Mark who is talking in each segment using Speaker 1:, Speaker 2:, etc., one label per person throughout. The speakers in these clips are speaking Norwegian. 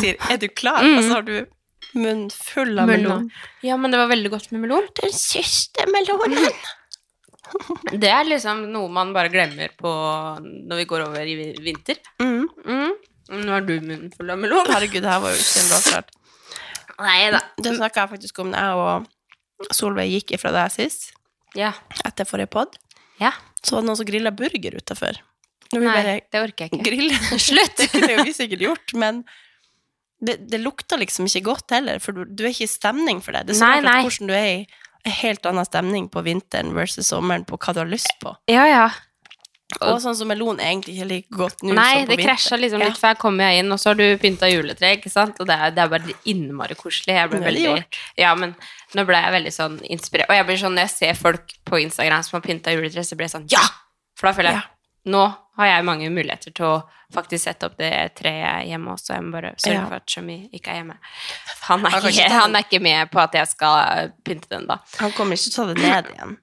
Speaker 1: sier 'er du klar?'
Speaker 2: Mm.
Speaker 1: Og så har du munnen full av melon.
Speaker 2: Melon. Ja, men det var veldig godt med melon.
Speaker 1: Den siste melonen!
Speaker 2: Det er liksom noe man bare glemmer på når vi går over i vi- vinter.
Speaker 1: Mm.
Speaker 2: Mm. Nå har du munnen full av melon.
Speaker 1: Herregud, det her var jo ikke en bra start.
Speaker 2: Nei da.
Speaker 1: Det snakka jeg faktisk om når jeg og Solveig gikk ifra deg sist,
Speaker 2: Ja.
Speaker 1: etter forrige pod.
Speaker 2: Ja.
Speaker 1: Så var det noen som grilla burger utafor. Når vi
Speaker 2: Nei,
Speaker 1: bare
Speaker 2: det orker jeg ikke.
Speaker 1: griller
Speaker 2: Slutt!
Speaker 1: Det kunne jo vi sikkert gjort, men det, det lukta liksom ikke godt heller, for du, du er ikke i stemning for det. Det er så
Speaker 2: Nei,
Speaker 1: rart at
Speaker 2: nei.
Speaker 1: hvordan du er i en helt annen stemning på vinteren versus sommeren på hva du har lyst på.
Speaker 2: Ja, ja.
Speaker 1: Og sånn som melon er egentlig ikke like godt nå
Speaker 2: Nei,
Speaker 1: som på
Speaker 2: det
Speaker 1: vinteren.
Speaker 2: krasja liksom
Speaker 1: Ja.
Speaker 2: litt, for her kommer jeg inn, og så har du pynta juletre, ikke sant? Og det er, det er bare innmari koselig. Jeg ble
Speaker 1: Veldig
Speaker 2: veldig Ja, men nå ble jeg veldig sånn inspirert. Og jeg blir sånn, når jeg ser folk på Instagram som har pynta juletre, så blir jeg sånn ja! For da føler jeg
Speaker 1: Ja.
Speaker 2: nå har jeg mange muligheter til å faktisk sette opp det treet hjemme også. Jeg må bare sørge
Speaker 1: Ja.
Speaker 2: for at Shami ikke er hjemme. Han er
Speaker 1: Han kan
Speaker 2: ikke,
Speaker 1: ikke ta
Speaker 2: han er ikke med på at jeg skal eh, pynte den, da.
Speaker 1: Han kommer ikke til å ta det ned igjen.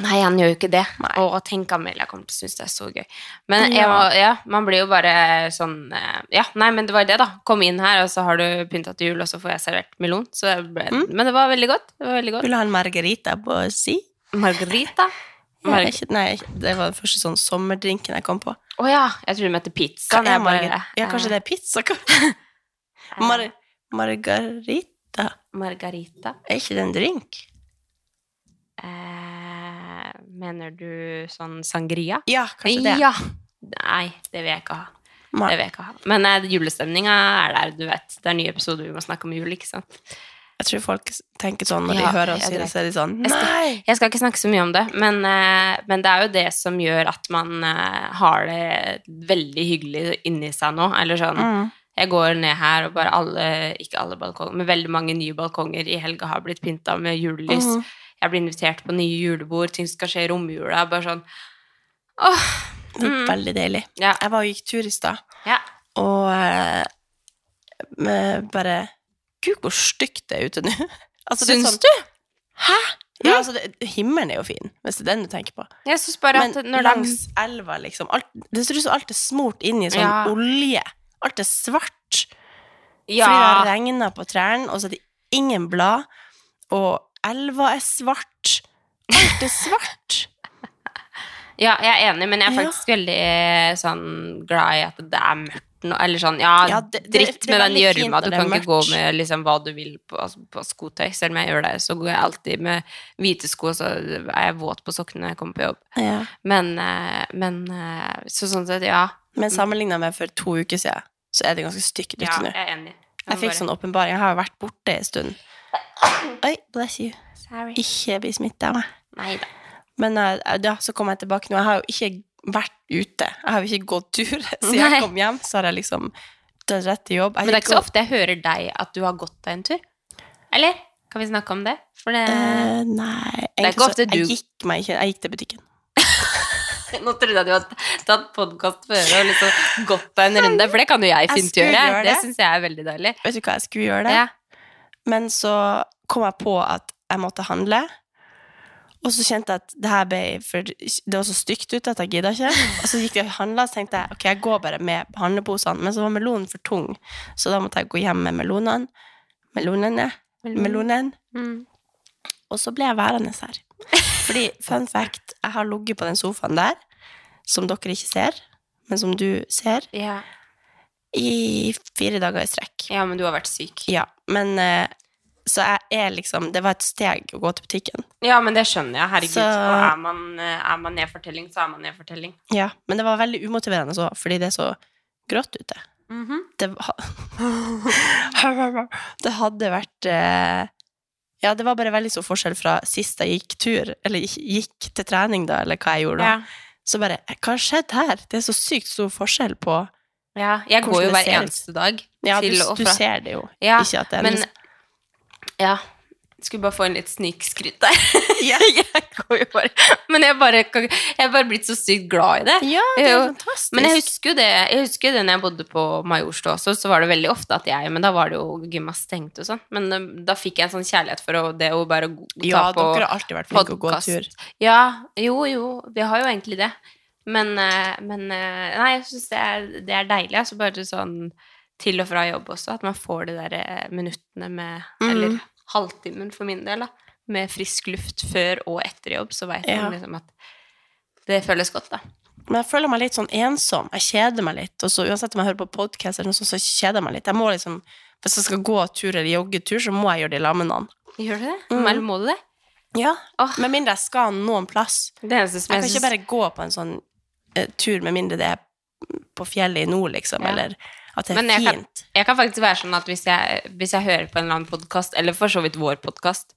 Speaker 2: Nei, han gjør jo ikke det.
Speaker 1: Nei.
Speaker 2: Og tenk Amelia kommer til å synes det er så gøy. Men
Speaker 1: Ja.
Speaker 2: jeg må- ja, man blir jo bare sånn eh, Ja, nei, men det var det, da. Kom inn her, og så har du pynta til jul, og så får jeg servert melon. Så jeg ble,
Speaker 1: Mm.
Speaker 2: Men det var veldig godt. Det var veldig godt.
Speaker 1: Vil du ha en margarita på si?
Speaker 2: Margarita.
Speaker 1: Jeg
Speaker 2: Mar
Speaker 1: vet ikke, nei, det var den første sånn sommerdrinken jeg kom på.
Speaker 2: Å ja, jeg tror du mente pizza.
Speaker 1: Hva er
Speaker 2: når jeg Sånn bare-
Speaker 1: margarita? Ja, kanskje det er pizza?
Speaker 2: eh,
Speaker 1: Mar margarita?
Speaker 2: Margarita.
Speaker 1: Er ikke det en drink?
Speaker 2: Eh, mener du sånn sangria?
Speaker 1: Ja, kanskje det.
Speaker 2: Ja. Nei, det vil jeg ikke ha.
Speaker 1: Nei.
Speaker 2: Det vil jeg ikke ha. Men eh, julestemninga er der, du vet. Det er nye episoder vi må snakke om jul, ikke sant.
Speaker 1: Jeg tror folk tenker sånn når
Speaker 2: Ja,
Speaker 1: de hører oss
Speaker 2: jeg
Speaker 1: si det,
Speaker 2: vet.
Speaker 1: så er de sånn
Speaker 2: Jeg skal-
Speaker 1: Nei!
Speaker 2: Jeg skal ikke snakke så mye om det, men, eh, men det er jo det som gjør at man eh, har det veldig hyggelig inni seg nå. Eller sånn
Speaker 1: Mm.
Speaker 2: Jeg går ned her, og bare alle, ikke alle balkonger, men veldig mange nye balkonger i helga har blitt pynta med julelys.
Speaker 1: Mhm.
Speaker 2: Jeg blir invitert på nye julebord, ting som skal skje i romjula. Bare sånn Åh!
Speaker 1: Det er Veldig deilig.
Speaker 2: Ja.
Speaker 1: Jeg var og gikk tur i stad,
Speaker 2: ja.
Speaker 1: og eh, med bare Gud, hvor stygt det er ute nå. Altså, det er
Speaker 2: Syns
Speaker 1: sånn-
Speaker 2: du?
Speaker 1: Ja, altså, det, himmelen er jo fin, hvis det er den du tenker på.
Speaker 2: Jeg syns bare at
Speaker 1: Men
Speaker 2: når det er
Speaker 1: langs elva, liksom alt, Det ser ut som alt er smurt inn i sånn
Speaker 2: Ja.
Speaker 1: olje. Alt er svart. Fordi det har
Speaker 2: Ja.
Speaker 1: regna på trærne, og så er det ingen blad. Og elva er svart. Alt er svart.
Speaker 2: ja, jeg er enig, men jeg er
Speaker 1: Ja.
Speaker 2: faktisk veldig eh, sånn glad i at det er mørkt nå. Eller sånn, ja,
Speaker 1: Ja, det- det-
Speaker 2: dritt
Speaker 1: det er
Speaker 2: med den
Speaker 1: veldig fint
Speaker 2: gjørma.
Speaker 1: når
Speaker 2: Du
Speaker 1: det er
Speaker 2: kan ikke gå
Speaker 1: mørkt.
Speaker 2: med liksom, hva du vil på, altså, på skotøy. Selv om jeg gjør det, så går jeg alltid med hvite sko, og så er jeg våt på sokkene når jeg kommer på jobb. Men, eh, men eh, så sånn sett, ja.
Speaker 1: Men sammenligna med for to uker siden, så er det ganske stygt ute
Speaker 2: ja
Speaker 1: nå.
Speaker 2: jeg er enig. må
Speaker 1: Jeg fikk
Speaker 2: bare-
Speaker 1: sånn åpenbaring. Jeg har jo vært borte en stund. Oi, bless you.
Speaker 2: Sorry.
Speaker 1: Ikke bli smitta av meg.
Speaker 2: Nei da.
Speaker 1: Men eh, da så kom jeg tilbake nå. Jeg har jo ikke vært ute. Jeg har jo ikke gått tur. Siden
Speaker 2: Nei.
Speaker 1: jeg kom hjem, så har jeg liksom dødd rett til jobb. Jeg
Speaker 2: Men det er
Speaker 1: gikk
Speaker 2: ikke så
Speaker 1: og-
Speaker 2: ofte jeg hører deg at du har gått deg en tur. Eller? Kan vi snakke om det? For det
Speaker 1: Eh, nei,
Speaker 2: er
Speaker 1: egentlig
Speaker 2: ikke
Speaker 1: så-
Speaker 2: ofte du-
Speaker 1: Jeg gikk meg ikke. Jeg gikk til butikken.
Speaker 2: Nå trodde jeg du hadde tatt podkast før og liksom gått deg en runde, for det kan jo jeg
Speaker 1: Jeg
Speaker 2: fint
Speaker 1: skulle
Speaker 2: gjøre.
Speaker 1: gjøre
Speaker 2: Det
Speaker 1: det.
Speaker 2: syns jeg er veldig deilig.
Speaker 1: Vet du hva, jeg skulle gjøre det.
Speaker 2: Ja.
Speaker 1: Men så kom jeg på at jeg måtte handle. Og så kjente jeg at det her ble for Det var så stygt ute at jeg gidda ikke. Og så gikk jeg og handla, så tenkte jeg ok, jeg går bare med handleposene. Men så var melonen for tung, så da måtte jeg gå hjem med melonene. Melonene. Melonen.
Speaker 2: Mm.
Speaker 1: Og så ble jeg værende her. Fordi, fun fact, jeg har ligget på den sofaen der, som dere ikke ser, men som du ser,
Speaker 2: Ja.
Speaker 1: i fire dager i strekk.
Speaker 2: ja, men du har vært syk.
Speaker 1: Ja, men eh, Så jeg er liksom Det var et steg å gå til butikken.
Speaker 2: Ja, men det skjønner jeg. Herregud.
Speaker 1: Så-
Speaker 2: Og er man, eh, er man nedfortelling, så er man nedfortelling.
Speaker 1: Ja, Men det var veldig umotiverende òg, fordi det er så grått ute. Det, var- det hadde vært eh, Ja, det var bare veldig stor forskjell fra sist jeg gikk tur, eller gikk- gikk til trening, da, eller hva jeg gjorde da.
Speaker 2: Ja.
Speaker 1: Så bare Hva har skjedd her? Det er så sykt stor forskjell på
Speaker 2: ja. Jeg
Speaker 1: Hvordan
Speaker 2: går jo
Speaker 1: det
Speaker 2: hver
Speaker 1: ser ut.
Speaker 2: eneste dag
Speaker 1: Ja, du,
Speaker 2: til og
Speaker 1: du
Speaker 2: fra.
Speaker 1: ser det jo.
Speaker 2: Ja,
Speaker 1: Ikke at det er liksom-
Speaker 2: men Ja. Skulle bare få en litt snikskryt der.
Speaker 1: Ja.
Speaker 2: jeg går jo bare Men jeg, bare, kan- jeg er bare blitt så sykt glad i det.
Speaker 1: Ja, det er
Speaker 2: Jo,
Speaker 1: fantastisk.
Speaker 2: Men jeg husker jo det, jeg husker jo det når jeg bodde på Majorstua også, så var det veldig ofte at jeg Men da var det jo gymma stengt og sånn. Men eh, da fikk jeg en sånn kjærlighet for å- det å bare gå- ta
Speaker 1: ja,
Speaker 2: på
Speaker 1: dere har alltid vært flinke til å gå
Speaker 2: podcast.
Speaker 1: tur.
Speaker 2: Ja, jo, jo. Vi har jo egentlig det. Men, eh, men eh, Nei, jeg syns det, er- det er deilig. Altså bare sånn til og fra jobb også, at man får de der eh, minuttene med
Speaker 1: Mm.
Speaker 2: Eller halvtimen for min del, da. Med frisk luft før og etter jobb, så veit
Speaker 1: Ja.
Speaker 2: man liksom at det føles godt, da.
Speaker 1: Men jeg føler meg litt sånn ensom. Jeg kjeder meg litt. Og så uansett om jeg hører på podkast eller noe sånt, så kjeder jeg meg litt. Jeg må liksom, Hvis jeg skal gå tur eller joggetur, så må jeg gjøre det i lag med noen.
Speaker 2: Gjør du det?
Speaker 1: Mm.
Speaker 2: Eller må du det?
Speaker 1: Ja.
Speaker 2: Åh.
Speaker 1: Med mindre jeg skal noen plass.
Speaker 2: Det eneste
Speaker 1: Jeg
Speaker 2: som jeg,
Speaker 1: kan ikke
Speaker 2: synes-
Speaker 1: bare gå på en sånn eh, tur med mindre det er på fjellet i nord, liksom.
Speaker 2: Ja.
Speaker 1: Eller at det
Speaker 2: Men
Speaker 1: er
Speaker 2: jeg kan-
Speaker 1: fint.
Speaker 2: jeg kan faktisk være sånn at hvis jeg, hvis jeg hører på en eller annen podkast, eller for så vidt vår podkast,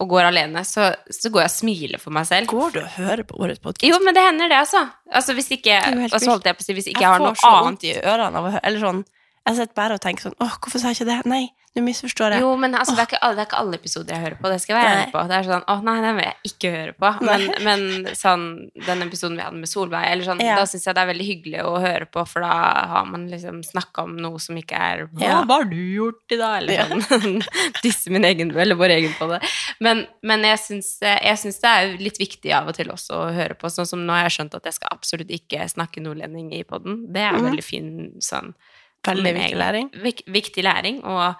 Speaker 2: og går alene, så, så går jeg og smiler for meg selv.
Speaker 1: Går du og hører på årets podkast?
Speaker 2: Jo, men det hender, det, altså. altså hvis ikke,
Speaker 1: er jo helt
Speaker 2: og så holdt jeg på å si hvis ikke jeg, har
Speaker 1: får
Speaker 2: noe
Speaker 1: så
Speaker 2: annet
Speaker 1: vondt i ørene av å høre Eller sånn Jeg sitter bare og tenker sånn Åh, hvorfor sa jeg ikke det? Nei, nå misforstår jeg.
Speaker 2: Jo, men altså, det, er ikke alle, det er ikke alle episoder jeg hører på. Det skal jeg være
Speaker 1: Nei.
Speaker 2: ærlig på. Det er sånn, åh nei, den vil jeg ikke høre på. Men, men sånn, den episoden vi hadde med Solveig, eller sånn,
Speaker 1: Ja.
Speaker 2: da syns jeg det er veldig hyggelig å høre på, for da har man liksom snakka om noe som ikke er Hva
Speaker 1: Ja.
Speaker 2: har du gjort i dag? Eller sånn. Disse min egen, eller vår egen på det. Men, men jeg syns jeg syns det er litt viktig av og til også å høre på. Sånn som nå har jeg skjønt at jeg skal absolutt ikke snakke nordlending i poden. Det er
Speaker 1: Mhm.
Speaker 2: veldig fin sånn
Speaker 1: Veldig
Speaker 2: men jeg-
Speaker 1: viktig læring.
Speaker 2: Vik, viktig læring, og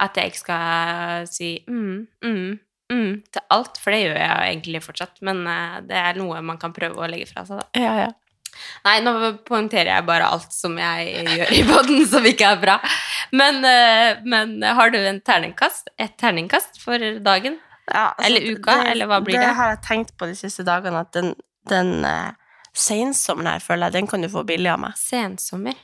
Speaker 2: at jeg ikke skal si mm, mm, mm til alt, for det gjør jeg jo egentlig fortsatt, men eh, det er noe man kan prøve å legge fra seg, da.
Speaker 1: Ja, ja.
Speaker 2: Nei, nå poengterer jeg bare alt som jeg gjør i podden som ikke er bra. Men, eh, men har du en terningkast? Et terningkast for dagen?
Speaker 1: Ja, altså,
Speaker 2: Eller uka, eller hva blir det?
Speaker 1: Det har jeg tenkt på de siste dagene, at den, den eh, sensommeren her, føler jeg, den kan du få billig av meg.
Speaker 2: Sensommer.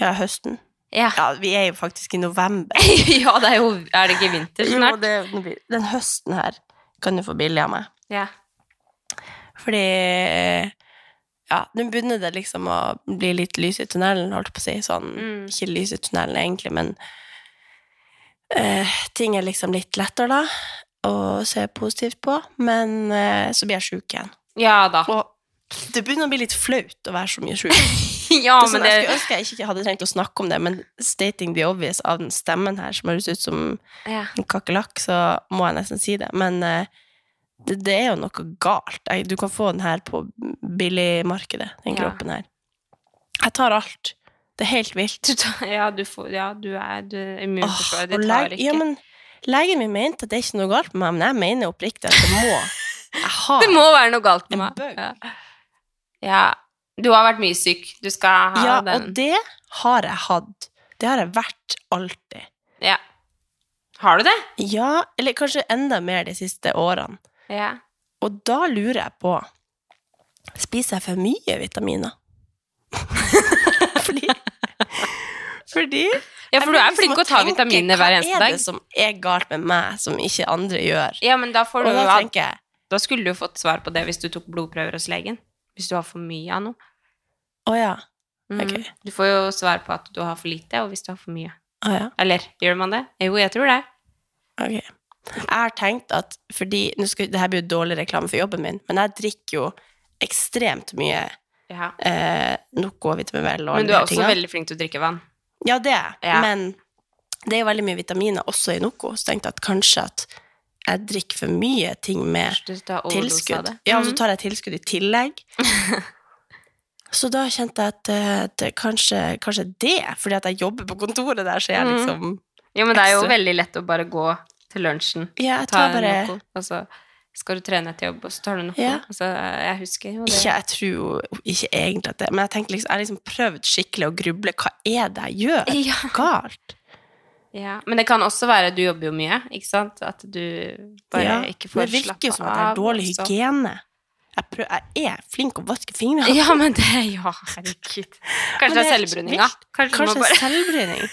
Speaker 1: Ja, høsten.
Speaker 2: Ja.
Speaker 1: Ja, vi er jo faktisk i november.
Speaker 2: ja, det er jo Er det ikke vinter
Speaker 1: Jo,
Speaker 2: snart?
Speaker 1: det, den høsten her kan du få billig av meg.
Speaker 2: Ja.
Speaker 1: Fordi eh, ja, nå begynner det liksom å bli litt lys i tunnelen, holdt på å si. Sånn,
Speaker 2: Mm.
Speaker 1: Ikke lys i tunnelen egentlig, men eh, ting er liksom litt lettere da, å se positivt på. Men eh, så blir jeg sjuk igjen.
Speaker 2: ja da.
Speaker 1: Og det begynner å bli litt flaut å være så mye sjuk.
Speaker 2: Ja,
Speaker 1: Det er
Speaker 2: men
Speaker 1: sånn, jeg
Speaker 2: det
Speaker 1: skulle ønske jeg ikke hadde trengt å snakke om det, men stating the obvious av den stemmen her, som høres ut som
Speaker 2: ja.
Speaker 1: en kakerlakk, så må jeg nesten si det. Men eh, det, det er jo noe galt. Jeg, du kan få den her på billigmarkedet, den
Speaker 2: Ja.
Speaker 1: kroppen her. Jeg tar alt. Det er helt vilt.
Speaker 2: Du tar, ja, du får, ja, du er du,
Speaker 1: Åh,
Speaker 2: immunforsvaret ditt
Speaker 1: og
Speaker 2: tar
Speaker 1: leg-
Speaker 2: ikke.
Speaker 1: Ja, men legen min mente at det er ikke noe galt med meg, men jeg mener oppriktig at det må Jeg har
Speaker 2: det må være noe galt med
Speaker 1: En
Speaker 2: meg.
Speaker 1: bug.
Speaker 2: Ja. ja. Du har vært mye syk. Du skal ha
Speaker 1: Ja,
Speaker 2: den.
Speaker 1: og det har jeg hatt. Det har jeg vært alltid.
Speaker 2: Ja. Har du det?
Speaker 1: Ja, eller kanskje enda mer de siste årene.
Speaker 2: Ja.
Speaker 1: Og da lurer jeg på Spiser jeg for mye vitaminer? fordi Fordi
Speaker 2: ja for du er flink til å ta
Speaker 1: tenke,
Speaker 2: vitaminer hver eneste
Speaker 1: Hva er
Speaker 2: dag.
Speaker 1: det som er galt med meg, som ikke andre gjør?
Speaker 2: Ja, men da, får
Speaker 1: Og
Speaker 2: du,
Speaker 1: da
Speaker 2: jo alt-
Speaker 1: tenker jeg
Speaker 2: da skulle du jo fått svar på det hvis du tok blodprøver hos legen. Hvis du har for mye av noe.
Speaker 1: Å ja.
Speaker 2: Mm.
Speaker 1: Ok.
Speaker 2: Du får jo svar på at du har for lite, og hvis du har for mye.
Speaker 1: Å ja.
Speaker 2: Eller gjør man det? Jo, jeg tror det.
Speaker 1: Ok. Jeg har tenkt at fordi nå skal, det her blir jo dårlig reklame for jobben min, men jeg drikker jo ekstremt mye
Speaker 2: Ja.
Speaker 1: eh, Noco og vitamin Vel og alle
Speaker 2: Men du
Speaker 1: de
Speaker 2: er
Speaker 1: her
Speaker 2: også
Speaker 1: tingene.
Speaker 2: veldig flink til å drikke vann.
Speaker 1: Ja, det er jeg.
Speaker 2: Ja.
Speaker 1: Men det er jo veldig mye vitaminer også i Noco, så tenkte jeg at kanskje at jeg drikker for mye ting med
Speaker 2: Du tar overdose av
Speaker 1: tilskudd.
Speaker 2: det.
Speaker 1: Ja, altså og så
Speaker 2: Mm.
Speaker 1: tar jeg tilskudd i tillegg. Så da kjente jeg at, eh, det, kanskje, kanskje det, fordi at jeg jobber på kontoret der, så jeg
Speaker 2: Mm.
Speaker 1: liksom
Speaker 2: Ja, men det er jo
Speaker 1: Ekstra.
Speaker 2: veldig lett å bare gå til lunsjen,
Speaker 1: Ja, jeg
Speaker 2: ta
Speaker 1: tar
Speaker 2: en
Speaker 1: bare
Speaker 2: Noco, og så skal du trene etter jobb, og så tar du noe.
Speaker 1: Ja.
Speaker 2: Og så, jeg husker jo det.
Speaker 1: Ikke, jeg tror jo ikke egentlig at det Men jeg tenker liksom, jeg har liksom prøvd skikkelig å gruble. Hva er det jeg gjør?
Speaker 2: Ja.
Speaker 1: Galt.
Speaker 2: Ja. Men det kan også være, du jobber jo mye, ikke sant? At du bare
Speaker 1: Ja,
Speaker 2: ikke
Speaker 1: men det
Speaker 2: får
Speaker 1: virker
Speaker 2: slappe
Speaker 1: jo som at jeg
Speaker 2: av. altså.
Speaker 1: har dårlig
Speaker 2: og så-
Speaker 1: hygiene. Jeg, prøv, jeg er flink å vaske fingrene.
Speaker 2: Ja, men det Ja, herregud. Kanskje
Speaker 1: Men
Speaker 2: det er
Speaker 1: det er
Speaker 2: selvbruninga. Kanskje, du må
Speaker 1: Kanskje
Speaker 2: bare,
Speaker 1: selvbryning?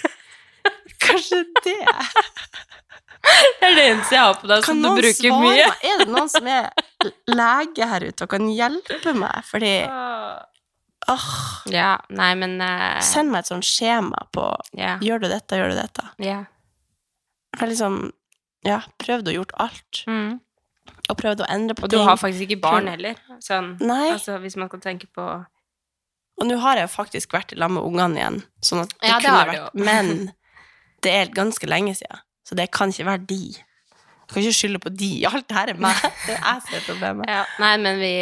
Speaker 1: Kanskje det.
Speaker 2: det er det eneste jeg har på deg som
Speaker 1: Kan
Speaker 2: Altså, du
Speaker 1: noen
Speaker 2: bruker
Speaker 1: svare
Speaker 2: mye.
Speaker 1: meg? Er det noen som er lege her ute og kan hjelpe meg? Fordi åh,
Speaker 2: Ja, nei, men eh,
Speaker 1: Send meg et sånt skjema på
Speaker 2: ja,
Speaker 1: Gjør du dette, gjør du dette?
Speaker 2: ja.
Speaker 1: Jeg har liksom ja, prøvd å gjort alt.
Speaker 2: Mm.
Speaker 1: Og prøvd å endre på
Speaker 2: Og du
Speaker 1: ting.
Speaker 2: har faktisk ikke barn
Speaker 1: Prøv-
Speaker 2: heller. Sånn,
Speaker 1: Nei.
Speaker 2: altså, hvis man kan tenke på
Speaker 1: Og nå har jeg jo faktisk vært i lag med ungene igjen, sånn at det
Speaker 2: Ja, det
Speaker 1: kunne
Speaker 2: har du
Speaker 1: vært Men det er ganske lenge siden, så det kan ikke være de. Jeg kan ikke skylde på de. Alt det her er meg. Det er jeg som er problemet.
Speaker 2: Ja, nei, men vi,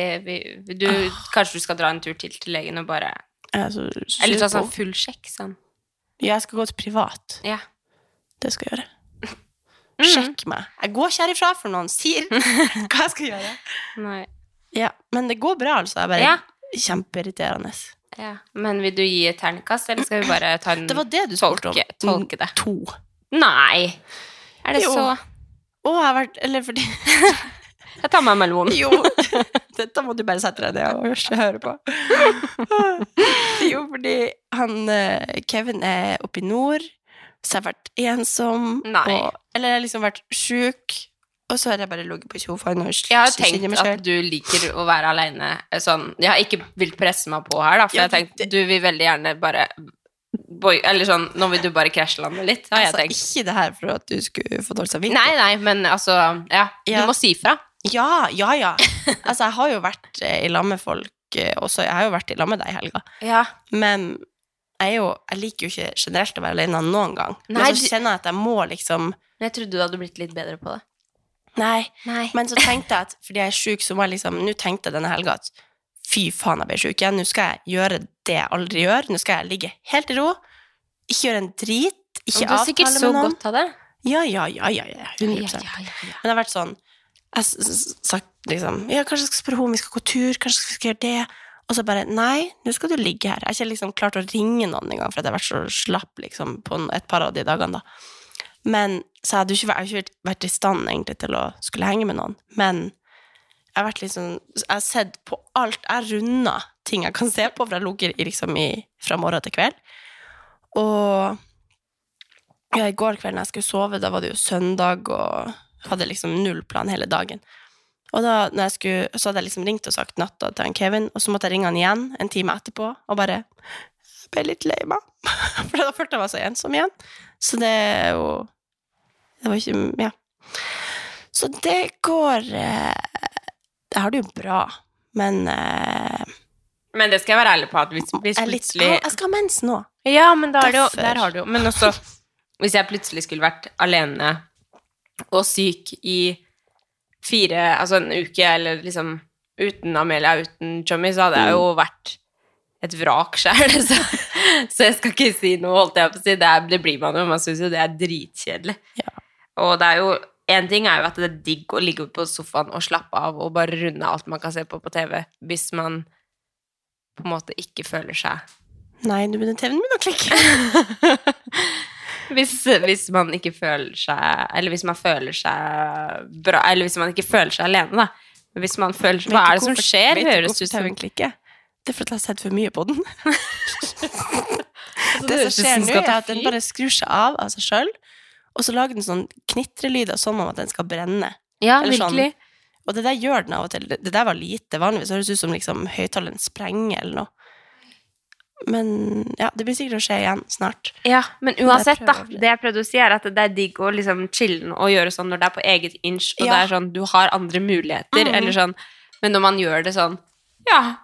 Speaker 2: vi du, Kanskje du skal dra en tur til til legen og bare
Speaker 1: Jeg er så sur
Speaker 2: Eller ta
Speaker 1: på
Speaker 2: sånn full sjekk, sånn.
Speaker 1: Jeg skal gå til privat.
Speaker 2: Ja.
Speaker 1: Det skal jeg gjøre.
Speaker 2: Mhm.
Speaker 1: Sjekk meg. Jeg går ikke herifra før noen sier hva jeg skal gjøre.
Speaker 2: Nei.
Speaker 1: Ja, Men det går bra, altså. Jeg bare
Speaker 2: Ja.
Speaker 1: Kjempeirriterende.
Speaker 2: ja. Men vil du gi et terningkast, eller skal vi bare ta en
Speaker 1: Det var det du spurte om.
Speaker 2: tolke, tolke det?
Speaker 1: To.
Speaker 2: Nei! Er det
Speaker 1: Jo.
Speaker 2: så
Speaker 1: Å, jeg har vært Eller fordi
Speaker 2: Jeg tar meg en melon.
Speaker 1: Jo! Dette må du bare sette deg ned og ikke høre på. Jo, fordi han eh, Kevin er oppe i nord, så jeg har vært ensom.
Speaker 2: Nei.
Speaker 1: Og, eller jeg har liksom vært sjuk, og så har jeg bare ligget på sofaen og
Speaker 2: Jeg har
Speaker 1: kikket inn i
Speaker 2: tenkt
Speaker 1: meg selv.
Speaker 2: at du liker å være aleine sånn Jeg har ikke villet presse meg på her, da, for
Speaker 1: Ja,
Speaker 2: jeg har tenkt du vil veldig gjerne bare boy, Eller sånn Nå vil du bare krasjlande litt, har jeg
Speaker 1: altså,
Speaker 2: tenkt.
Speaker 1: Ikke det her for at du skulle få dårlig samvittighet.
Speaker 2: Nei, nei, men altså Ja, du
Speaker 1: Ja.
Speaker 2: må si fra.
Speaker 1: Ja, ja, ja. Altså, jeg har jo vært eh, i lag med folk eh, også. Jeg har jo vært i lag med deg i helga.
Speaker 2: Ja.
Speaker 1: Men jeg, er jo, jeg liker jo ikke generelt å være alene noen gang.
Speaker 2: Nei,
Speaker 1: men
Speaker 2: du-
Speaker 1: så kjenner jeg at jeg må liksom
Speaker 2: Men jeg trodde du hadde blitt litt bedre på det.
Speaker 1: Nei.
Speaker 2: Nei.
Speaker 1: Men så tenkte jeg at fordi jeg er sjuk, så må jeg liksom Nå tenkte jeg denne helga at fy faen, jeg ble sjuk igjen. Nå skal jeg gjøre det jeg aldri gjør. Nå skal jeg ligge helt i ro. Ikke gjøre en drit. Ikke
Speaker 2: du har
Speaker 1: avtale
Speaker 2: sikkert så
Speaker 1: med noen.
Speaker 2: godt av det.
Speaker 1: Ja, ja, ja, ja. ja 100 Men det har vært sånn Jeg s- s- sagt liksom Ja, kanskje jeg skal spørre henne om vi skal gå tur, kanskje vi skal gjøre det. Og så bare Nei, nå skal du ligge her. Jeg har ikke liksom klart å ringe noen engang, for at jeg har vært så slapp liksom, på n- et par av de dagene, da. Men så jeg hadde jo ikke vært, jeg har ikke vært i stand egentlig til å skulle henge med noen. Men jeg har vært liksom Jeg har sett på alt. Jeg runda ting jeg kan se på, for jeg ligger i liksom i, fra morgen til kveld. Og ja, i går kveld når jeg skulle sove, da var det jo søndag, og hadde liksom null plan hele dagen. Og da når jeg skulle, så hadde jeg liksom ringt og sagt natta til han Kevin, og så måtte jeg ringe han igjen en time etterpå, og bare jeg ble litt lei meg. For da følte jeg meg så ensom igjen. Så det er jo Det var ikke Ja. Så det går eh, Jeg har det jo bra, men eh,
Speaker 2: Men det skal jeg være ærlig på, at hvis, hvis
Speaker 1: jeg, er litt,
Speaker 2: plutselig
Speaker 1: jeg, jeg skal ha mens nå.
Speaker 2: Ja, men da er det jo,
Speaker 1: Derfor.
Speaker 2: der har du jo Men også, hvis jeg plutselig skulle vært alene og syk i fire Altså en uke, eller liksom uten Amelia, uten Chummy, så hadde jeg jo
Speaker 1: Mm.
Speaker 2: vært et vrak sjøl. Så, så jeg skal ikke si noe, holdt jeg på å si. Det, er, det blir man jo. Man syns jo det er dritkjedelig.
Speaker 1: Ja.
Speaker 2: Og det er jo en ting er jo at det er digg å ligge på sofaen og slappe av og bare runde alt man kan se på på TV, hvis man på en måte ikke føler seg
Speaker 1: Nei, nå begynner TV-en min å klikke.
Speaker 2: hvis, hvis man ikke føler seg Eller hvis man føler seg bra Eller hvis man ikke føler seg alene, da. Men Hvis man føler seg,
Speaker 1: Vet
Speaker 2: Hva
Speaker 1: du
Speaker 2: er det som
Speaker 1: hvorfor-
Speaker 2: skjer?
Speaker 1: vet du
Speaker 2: Høres
Speaker 1: hvorfor
Speaker 2: ut som
Speaker 1: tauen klikker? Det er fordi jeg har sett for mye på den. det som
Speaker 2: høres ut
Speaker 1: skjer
Speaker 2: som
Speaker 1: nå,
Speaker 2: skal ta
Speaker 1: er at den
Speaker 2: fyr.
Speaker 1: bare skrur seg av av seg sjøl, og så lager den sånn knitrelyder som om at den skal brenne.
Speaker 2: Ja,
Speaker 1: eller sånn.
Speaker 2: virkelig.
Speaker 1: Og det der gjør den av og til. Det det der var lite vanligvis. Det høres ut som liksom høyttaleren sprenger eller noe. Men ja, det blir sikkert å skje igjen snart.
Speaker 2: Ja, men uansett, da.
Speaker 1: prøver jeg.
Speaker 2: Det jeg prøvde å si, er at det er digg å liksom chille og gjøre sånn når det er på eget inch, og
Speaker 1: Ja.
Speaker 2: det er sånn du har andre muligheter,
Speaker 1: Mhm.
Speaker 2: eller sånn Men når man gjør det sånn Ja,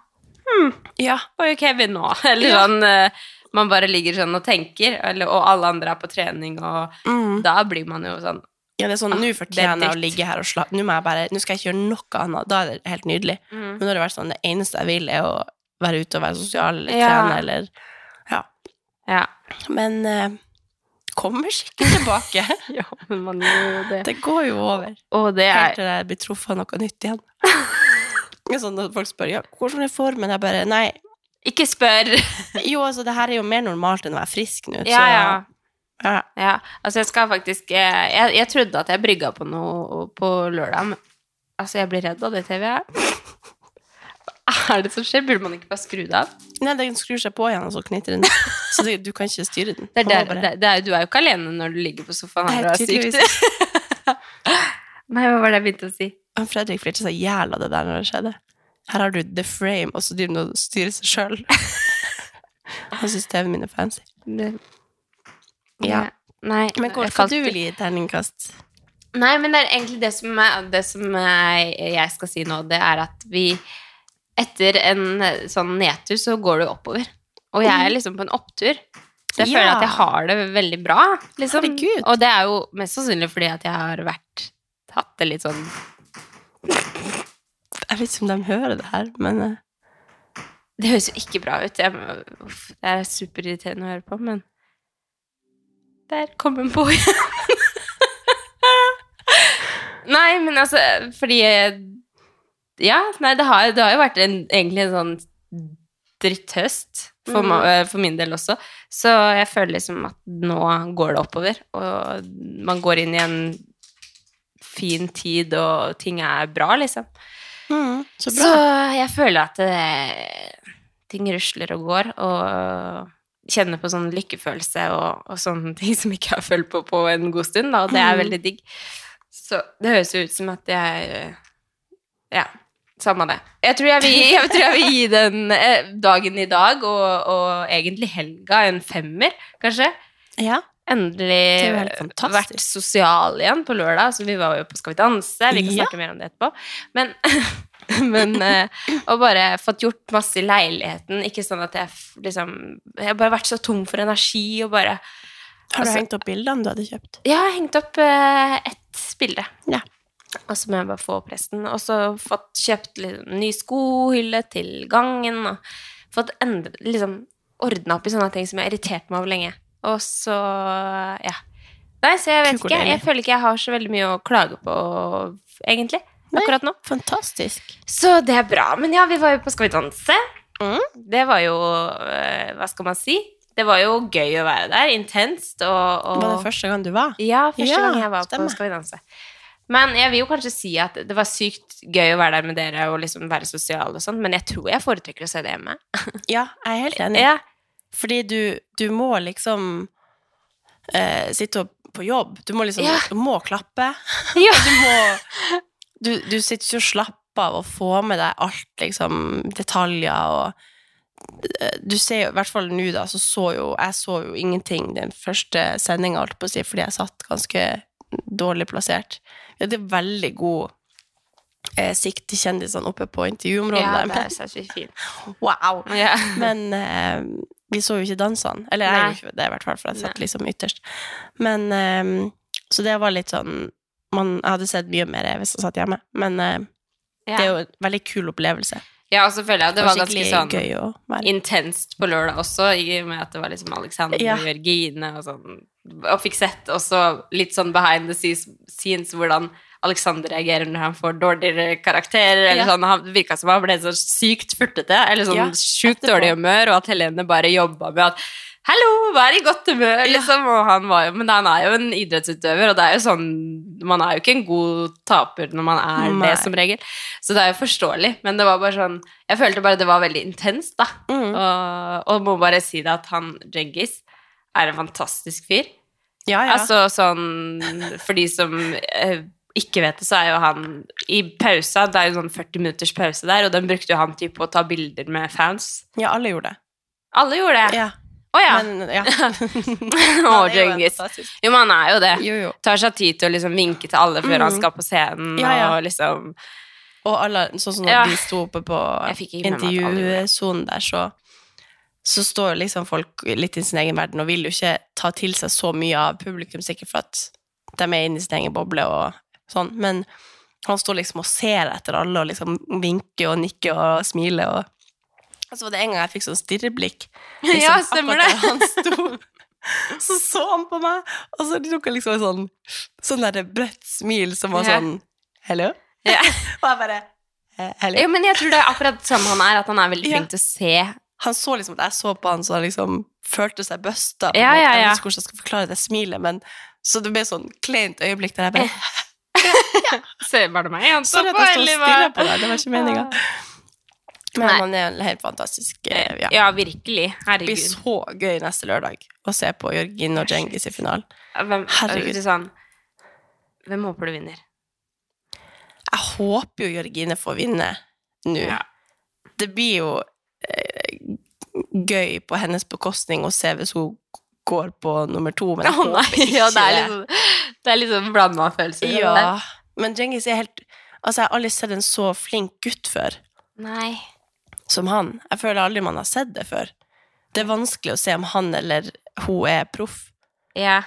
Speaker 1: Ja.
Speaker 2: hva gjør Kevin nå? Eller
Speaker 1: Ja.
Speaker 2: sånn eh, Man bare ligger sånn og tenker, eller, og alle andre er på trening, og
Speaker 1: Mm.
Speaker 2: da blir man jo sånn
Speaker 1: ja det er sånn, nå fortjener jeg å
Speaker 2: dikt.
Speaker 1: ligge her og slappe Nå må jeg bare, nå skal jeg ikke gjøre noe annet. Da er det helt nydelig.
Speaker 2: mm.
Speaker 1: Men nå har det vært sånn, det eneste jeg vil er å være ute og være sosial, eller
Speaker 2: Ja.
Speaker 1: trene, eller
Speaker 2: Ja.
Speaker 1: Men eh, kommer sikkert tilbake.
Speaker 2: Ja, men man gjør jo det.
Speaker 1: det går jo over.
Speaker 2: Og det
Speaker 1: Helt
Speaker 2: er
Speaker 1: til jeg blir truffet av noe nytt igjen. Det er sånn at folk spør ja, hvordan er formen. Jeg bare nei.
Speaker 2: Ikke spør!
Speaker 1: Jo, altså, det her er jo mer normalt enn å være frisk nå.
Speaker 2: Ja, ja.
Speaker 1: Så, ja.
Speaker 2: ja. Altså, jeg skal faktisk eh, Jeg, jeg trodde at jeg brygga på noe på lørdag, men altså, jeg blir redd av det TV-et. Hva er det som skjer? Burde man ikke bare skru det av?
Speaker 1: Nei, den skrur seg på igjen, og så knitrer den. Så det, du kan ikke styre den.
Speaker 2: Det er
Speaker 1: Man
Speaker 2: der,
Speaker 1: må bare-
Speaker 2: det, det er, jo- du er jo ikke alene når du ligger på sofaen
Speaker 1: Nei,
Speaker 2: her og er syk.
Speaker 1: tydeligvis.
Speaker 2: Nei, hva var det jeg begynte å si?
Speaker 1: Han Fredrik flirte seg jævla det der når det skjedde. Her har du the frame, og så driver han og styrer seg sjøl. Han syns TV-en min er fancy.
Speaker 2: Det,
Speaker 1: Ja.
Speaker 2: Nei,
Speaker 1: Men
Speaker 2: jeg
Speaker 1: hvordan skal
Speaker 2: falt
Speaker 1: du
Speaker 2: ut.
Speaker 1: vil gi terningkast?
Speaker 2: Nei, men det er egentlig det som, er, det som er, jeg skal si nå, det er at vi Etter en sånn nedtur så går du oppover. Og jeg er liksom på en opptur. Så jeg
Speaker 1: Mm. Ja.
Speaker 2: føler at jeg har det veldig bra. Liksom.
Speaker 1: Herregud.
Speaker 2: Og det er jo mest sannsynlig fordi at jeg har vært hatt det litt sånn
Speaker 1: Jeg vet ikke om de hører det her, men eh,
Speaker 2: Det høres jo ikke bra ut. Jeg, uff, det er superirriterende å høre på, men Der kom hun på igjen. nei, men altså, fordi eh, Ja, nei, det har, det har jo vært en, egentlig en sånn dritthøst for, ma- eh, for min del også. Så jeg føler liksom at nå går det oppover, og man går inn i en fin tid, og ting er bra, liksom.
Speaker 1: Mm, så
Speaker 2: Så
Speaker 1: bra.
Speaker 2: jeg føler at det, ting rusler og går, og kjenner på sånn lykkefølelse og, og sånne ting som ikke jeg har følt på på en god stund, da, og det er
Speaker 1: Mhm.
Speaker 2: veldig digg. Så det høres jo ut som at jeg eh, Ja, samme det. Jeg tror jeg vil, jeg tror jeg vil gi den eh, dagen i dag, og, og egentlig helga, en femmer, kanskje.
Speaker 1: ja. Det er jo helt
Speaker 2: Endelig
Speaker 1: fantastisk.
Speaker 2: vært sosial igjen på lørdag, så vi var jo på Skal vi danse. Vi kan
Speaker 1: Ja.
Speaker 2: snakke mer om det etterpå. Men, men eh, Og bare fått gjort masse i leiligheten. Ikke sånn at jeg f- liksom Jeg har bare vært så tom for energi og bare
Speaker 1: Har du
Speaker 2: altså-
Speaker 1: hengt opp bildene du hadde kjøpt?
Speaker 2: Jeg har hengt opp eh, ett bilde.
Speaker 1: Ja.
Speaker 2: Og så må jeg bare få opp resten. Og så fått kjøpt litt ny skohylle til gangen. Og fått endre, liksom ordna opp i sånne ting som jeg har irritert meg over lenge. Og så ja. Nei, så jeg vet
Speaker 1: Kuk og
Speaker 2: ikke.
Speaker 1: deilig.
Speaker 2: Jeg føler ikke jeg har så veldig mye å klage på, egentlig.
Speaker 1: Nei.
Speaker 2: Akkurat nå.
Speaker 1: Fantastisk.
Speaker 2: Så det er bra. Men ja, vi var jo på Skal vi danse.
Speaker 1: Mm.
Speaker 2: Det var jo eh, Hva skal man si? Det var jo gøy å være der. Intenst. Og, og
Speaker 1: Var det første gang du var?
Speaker 2: ja, første
Speaker 1: Ja,
Speaker 2: gang jeg var
Speaker 1: stemmer.
Speaker 2: på Skal vi danse. Men jeg vil jo kanskje si at det var sykt gøy å være der med dere og liksom være sosial og sånn, men jeg tror jeg foretrekker å se det hjemme.
Speaker 1: Ja, jeg er helt enig.
Speaker 2: Ja,
Speaker 1: Fordi du, du må liksom eh, sitte og- på jobb. Du må liksom
Speaker 2: Ja.
Speaker 1: du må klappe.
Speaker 2: ja.
Speaker 1: Du må Du, du sitter ikke og slapper av og får med deg alt, liksom, detaljer og eh, du ser jo, i hvert fall nå da, så så jo jeg så jo ingenting den første sendinga, holdt på å si, fordi jeg satt ganske dårlig plassert. Vi hadde veldig god eh, sikt til kjendisene oppe på intervjuområdet.
Speaker 2: ja
Speaker 1: der,
Speaker 2: det
Speaker 1: men-
Speaker 2: er særlig fint.
Speaker 1: Wow!
Speaker 2: Ja.
Speaker 1: Men eh, vi så jo ikke dansene. Eller jeg
Speaker 2: Nei.
Speaker 1: gjorde ikke det, i hvert fall, for jeg satt
Speaker 2: Nei.
Speaker 1: liksom ytterst. Men eh, Så det var litt sånn man, Jeg hadde sett mye mer hvis jeg satt hjemme, men eh, det er
Speaker 2: Ja.
Speaker 1: jo en veldig kul opplevelse.
Speaker 2: ja, og så føler jeg at det var ganske
Speaker 1: skikkelig
Speaker 2: sånn
Speaker 1: gøy å være
Speaker 2: intenst på lørdag også, i og med at det var liksom Alexander
Speaker 1: Ja.
Speaker 2: og Jørgine og sånn. Og fikk sett også litt sånn behind the scenes, scenes hvordan Alexander reagerer når han får dårligere karakterer. Eller
Speaker 1: Ja.
Speaker 2: sånn, han det virka som han ble så sykt furtete, eller sånn
Speaker 1: Ja,
Speaker 2: sjukt
Speaker 1: etterpå.
Speaker 2: dårlig humør, og at Helene bare jobba med at Hallo, vær i godt humør, liksom. Og han var jo, men han er jo en idrettsutøver, og det er jo sånn Man er jo ikke en god taper når man er
Speaker 1: Nei.
Speaker 2: det, som regel. Så det er jo forståelig, men det var bare sånn Jeg følte bare det var veldig intenst, da.
Speaker 1: Mm.
Speaker 2: Og, og må bare si det at han Djengis er en fantastisk fyr.
Speaker 1: Ja, ja.
Speaker 2: Altså sånn For de som eh, ikke vet det, så er jo han i pausa Det er jo sånn 40 minutters pause der, og den brukte jo han typ på å ta bilder med fans.
Speaker 1: ja, alle gjorde det.
Speaker 2: Alle gjorde det! Å ja!
Speaker 1: Ja. Men, ja.
Speaker 2: Å,
Speaker 1: Han er jo en
Speaker 2: Djengis.
Speaker 1: fantastisk-
Speaker 2: Jo, men han er jo det.
Speaker 1: Jo, jo.
Speaker 2: Tar seg tid til å liksom vinke til alle før
Speaker 1: Mm.
Speaker 2: han skal på scenen.
Speaker 1: Ja, ja.
Speaker 2: Og liksom
Speaker 1: Og alle, sånn som når
Speaker 2: Ja.
Speaker 1: de sto oppe på
Speaker 2: Jeg fikk ikke med meg at alle gjorde det.
Speaker 1: intervjusonen der, så, så står jo liksom folk litt i sin egen verden og vil jo ikke ta til seg så mye av publikum, sikkert for at de er inne i sin egen boble og sånn, men han står liksom og ser etter alle og liksom vinker og nikker og smiler og og så var det en gang jeg fikk sånn stirreblikk. liksom,
Speaker 2: Ja, stemmer
Speaker 1: akkurat
Speaker 2: det.
Speaker 1: der Han sto, så så han på meg, og så tok han liksom en sånn, sånn der brøtt smil som var
Speaker 2: Ja.
Speaker 1: sånn, hello?
Speaker 2: ja.
Speaker 1: Og jeg bare eh, Hello.
Speaker 2: Jo, men jeg tror det er akkurat sånn han er, at han er veldig
Speaker 1: Ja.
Speaker 2: flink til å se.
Speaker 1: Han så liksom at jeg så på han, så han liksom følte seg busta. på en
Speaker 2: Ja,
Speaker 1: måte.
Speaker 2: ja,
Speaker 1: Jeg
Speaker 2: ja.
Speaker 1: vet ikke hvordan jeg skal forklare det smilet, men så det ble sånn kleint øyeblikk der jeg bare
Speaker 2: Se, var det meg han så
Speaker 1: Sorry
Speaker 2: på,
Speaker 1: at jeg sto og
Speaker 2: eller hva?
Speaker 1: stirra på deg, det var ikke meninga. Men
Speaker 2: Nei.
Speaker 1: han er en helt fantastisk. eh, Ja.
Speaker 2: Ja,
Speaker 1: Det
Speaker 2: virkelig.
Speaker 1: blir
Speaker 2: Herregud.
Speaker 1: så gøy neste lørdag å se på Jørgin og Djengis i finalen.
Speaker 2: Hvem,
Speaker 1: Herregud.
Speaker 2: Herregud. Sånn, hvem håper du vinner?
Speaker 1: Jeg håper jo Jørgine får vinne nå.
Speaker 2: Ja.
Speaker 1: Det blir jo eh, gøy på hennes bekostning å se hvis hun går på nummer to, men jeg
Speaker 2: Å, nei,
Speaker 1: håper ikke
Speaker 2: ja, det er
Speaker 1: det. liksom
Speaker 2: litt sånn- det er litt sånn blanda følelser. det der.
Speaker 1: Ja, men Djengis er helt Altså, jeg har aldri sett en så flink gutt før
Speaker 2: Nei.
Speaker 1: som han. Jeg føler aldri man har sett det før. Det er vanskelig å se om han eller hun er proff.
Speaker 2: Ja.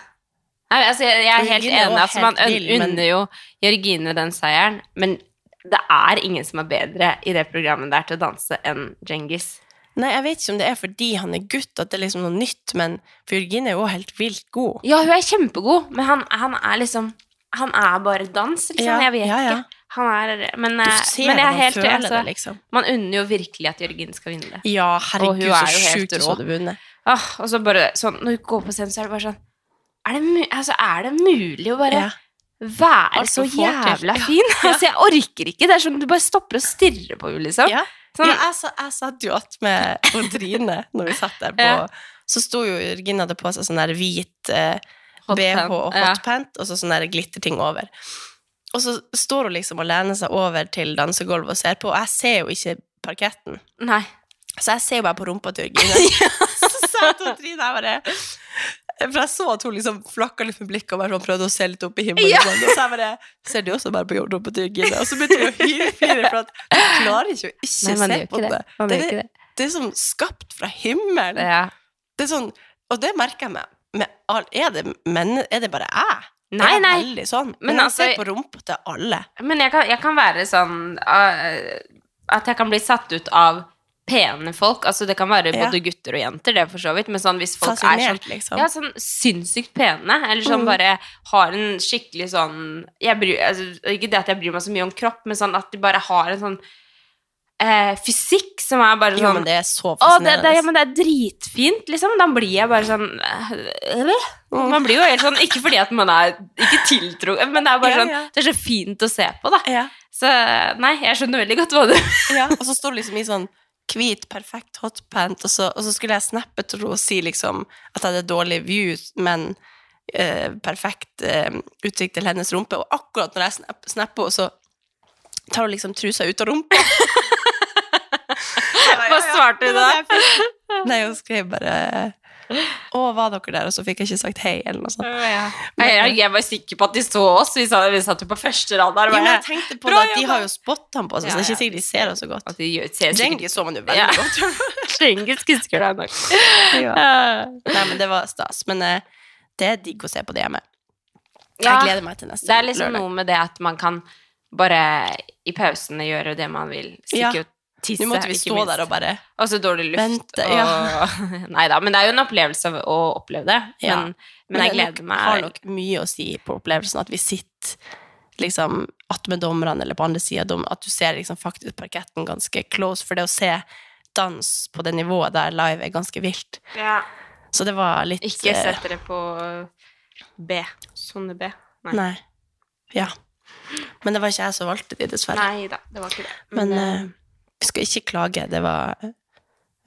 Speaker 2: Nei, altså, jeg, jeg er helt
Speaker 1: Jørgine
Speaker 2: enig.
Speaker 1: var
Speaker 2: Altså, man
Speaker 1: helt
Speaker 2: un-
Speaker 1: vill, men-
Speaker 2: unner jo Jørgine den seieren, men det er ingen som er bedre i det programmet der til å danse enn Djengis.
Speaker 1: Nei, jeg vet ikke om det er fordi han er gutt, at det er liksom noe nytt, men for Jørgine er jo også helt vilt god.
Speaker 2: Ja, hun er kjempegod, men han, han er liksom Han er bare dans, liksom.
Speaker 1: Ja,
Speaker 2: jeg vet
Speaker 1: ja, ja.
Speaker 2: ikke. Han er Men,
Speaker 1: Du
Speaker 2: eh,
Speaker 1: ser
Speaker 2: men jeg er
Speaker 1: det, man
Speaker 2: helt
Speaker 1: føler
Speaker 2: altså,
Speaker 1: det, liksom.
Speaker 2: Man unner jo virkelig at Jørgen skal vinne det.
Speaker 1: Ja,
Speaker 2: Og hun
Speaker 1: herregud,
Speaker 2: er
Speaker 1: så
Speaker 2: jo helt
Speaker 1: sjukt hun
Speaker 2: rå.
Speaker 1: hadde vunnet.
Speaker 2: Åh, og så bare sånn Når hun går på scenen, så er det bare sånn er det, mu- altså, er det mulig å bare
Speaker 1: Ja. Altså,
Speaker 2: være
Speaker 1: Alt
Speaker 2: så
Speaker 1: hun får til.
Speaker 2: jævla fin? Altså, jeg orker ikke. Det er sånn Du bare stopper og stirrer på henne, liksom.
Speaker 1: Ja.
Speaker 2: Sånn,
Speaker 1: Ja, jeg, sa- jeg satt jo att med Odrine når vi satt der på
Speaker 2: Ja.
Speaker 1: Så sto jo Jørgine hadde på seg sånn der hvit eh,
Speaker 2: hot
Speaker 1: BH
Speaker 2: pant.
Speaker 1: og
Speaker 2: Ja.
Speaker 1: hotpant, og så sånne der glitterting over. Og så står hun liksom og lener seg over til dansegulvet og ser på, og jeg ser jo ikke parketten.
Speaker 2: Nei.
Speaker 1: Så jeg ser jo bare på rumpa til Jørgine. så satt hun Trine her bare For jeg så at hun liksom flakka litt med blikket og bare sånn prøvde å se litt opp i himmelen.
Speaker 2: Ja.
Speaker 1: sånn. Og så jeg bare Ser du også bare på rumpa til Jørgine? Og så begynte hun å hylflire, for at hun klarer ikke å ikke
Speaker 2: Nei, man
Speaker 1: se
Speaker 2: gjør
Speaker 1: på det.
Speaker 2: ikke det. Man
Speaker 1: Det
Speaker 2: gjør
Speaker 1: er
Speaker 2: ikke det.
Speaker 1: Det er sånn skapt fra himmelen.
Speaker 2: Ja.
Speaker 1: Det er sånn, og det merker jeg meg. Med all, er, det, men, er det bare jeg?
Speaker 2: Nei,
Speaker 1: jeg
Speaker 2: nei.
Speaker 1: er veldig sånn. Men,
Speaker 2: Men
Speaker 1: jeg ser
Speaker 2: altså-
Speaker 1: på rumpa til alle.
Speaker 2: Men jeg kan, jeg kan være sånn eh, At jeg kan bli satt ut av pene folk. Altså Det kan være
Speaker 1: Ja.
Speaker 2: både gutter og jenter, det for så vidt. Men sånn hvis folk er sånn
Speaker 1: Fascinert, liksom.
Speaker 2: ja, sånn sinnssykt pene, eller sånn
Speaker 1: Mm.
Speaker 2: bare har en skikkelig sånn jeg bryr, altså, Ikke det at jeg bryr meg så mye om kropp, men sånn at de bare har en sånn eh, fysikk som er bare
Speaker 1: jo,
Speaker 2: sånn
Speaker 1: men det er så
Speaker 2: å, det, det,
Speaker 1: fascinerende.
Speaker 2: ja, men det er dritfint, liksom. Da blir jeg bare sånn øh, øh.
Speaker 1: Mm.
Speaker 2: Man blir jo helt sånn Ikke fordi at man er ikke tiltrukket, men det er bare
Speaker 1: Ja,
Speaker 2: sånn
Speaker 1: ja.
Speaker 2: Det er så fint å se på, da.
Speaker 1: ja,
Speaker 2: Så nei, jeg skjønner veldig godt hva du
Speaker 1: ja. Og så står det liksom i sånn hvit, perfekt hotpant, og så, og så skulle jeg snappe til henne og si liksom at jeg hadde dårlig view, men eh, perfekt eh, utsikt til hennes rumpe. Og akkurat når jeg snapp, snapper henne, så tar hun liksom trusa ut av rumpa.
Speaker 2: Hva svarte du da?
Speaker 1: Nei, hun skrev bare Å, var dere der? Og så fikk jeg ikke sagt hei, eller noe sånt.
Speaker 2: Nei, Jeg, jeg var sikker på at de så oss. Vi, sa, vi satt jo på første rad der.
Speaker 1: Jo,
Speaker 2: og
Speaker 1: men
Speaker 2: bare-
Speaker 1: jeg tenkte på det
Speaker 2: Bra
Speaker 1: at de
Speaker 2: jobba.
Speaker 1: har jo spottene på seg, så det er
Speaker 2: Ja,
Speaker 1: ikke sikkert de ser oss så godt.
Speaker 2: At de gjør- ser sikkert
Speaker 1: Djengis så man jo
Speaker 2: Ja.
Speaker 1: veldig godt.
Speaker 2: Djengis husker deg nok.
Speaker 1: Ja. Nei, men det var stas. Men eh, det er digg å se på det hjemme.
Speaker 2: Ja.
Speaker 1: Jeg gleder meg til neste
Speaker 2: Det er liksom
Speaker 1: lørdag.
Speaker 2: noe med det at man kan bare i pausene gjøre det man vil. Stikke
Speaker 1: Ja.
Speaker 2: og tisse,
Speaker 1: Nå måtte vi
Speaker 2: ikke
Speaker 1: stå
Speaker 2: minst.
Speaker 1: der og bare
Speaker 2: Og så Altså, dårlig luft.
Speaker 1: Vente,
Speaker 2: og... Nei da, men det er jo en opplevelse av å oppleve det.
Speaker 1: Ja.
Speaker 2: Men, men jeg
Speaker 1: det nok-
Speaker 2: gleder meg.
Speaker 1: har nok mye å si på opplevelsen at vi sitter liksom attmed dommerne eller på andre sida at du ser liksom faktisk parketten ganske close, for det å se dans på det nivået der live er ganske vilt.
Speaker 2: Ja.
Speaker 1: Så det var litt
Speaker 2: Ikke
Speaker 1: eh,
Speaker 2: sett dere på eh, B. Sone B. Nei.
Speaker 1: Nei. Ja. Men det var ikke jeg som valgte de, dessverre.
Speaker 2: Nei da, det var ikke det.
Speaker 1: Men
Speaker 2: eh,
Speaker 1: eh, vi skal ikke klage. Det var eh,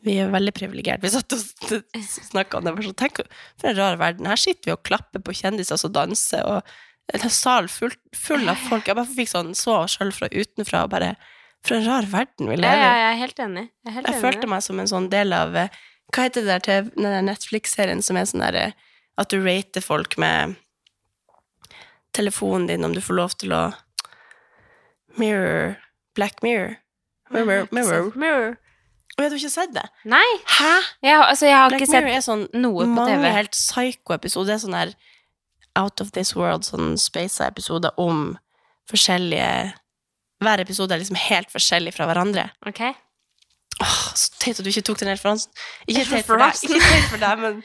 Speaker 1: Vi er veldig privilegerte. Vi satt og snakka om det. Jeg var sånn, Tenk for en rar verden. Her sitter vi og klapper på kjendiser som danser, og en sal full, full av folk. Jeg bare fikk sånn så sjøl fra utenfra og bare For en rar verden vi
Speaker 2: ja, ja,
Speaker 1: lever i.
Speaker 2: jeg er helt enig. Jeg, er helt
Speaker 1: Jeg
Speaker 2: enig.
Speaker 1: følte meg som en sånn del av eh, Hva heter det der til den der Netflix-serien som er sånn der eh, at du rater folk med telefonen din om du får lov til å Mirror. Black Mirror. Mirror. mirror.
Speaker 2: Mirror.
Speaker 1: Og jeg har ikke sett det.
Speaker 2: Nei,
Speaker 1: Hæ?
Speaker 2: jeg, har- altså, jeg har
Speaker 1: Black
Speaker 2: ikke sett
Speaker 1: Mirror er sånn
Speaker 2: noe på
Speaker 1: mange
Speaker 2: TV.
Speaker 1: helt psycho-episoder. Det er sånn her Out of This World, sånn space-episoder om forskjellige Hver episode er liksom helt forskjellig fra hverandre.
Speaker 2: Ok.
Speaker 1: Åh, så teit at du ikke tok den referansen. Ikke teit for deg,
Speaker 2: Referansen.
Speaker 1: ikke teit for deg men,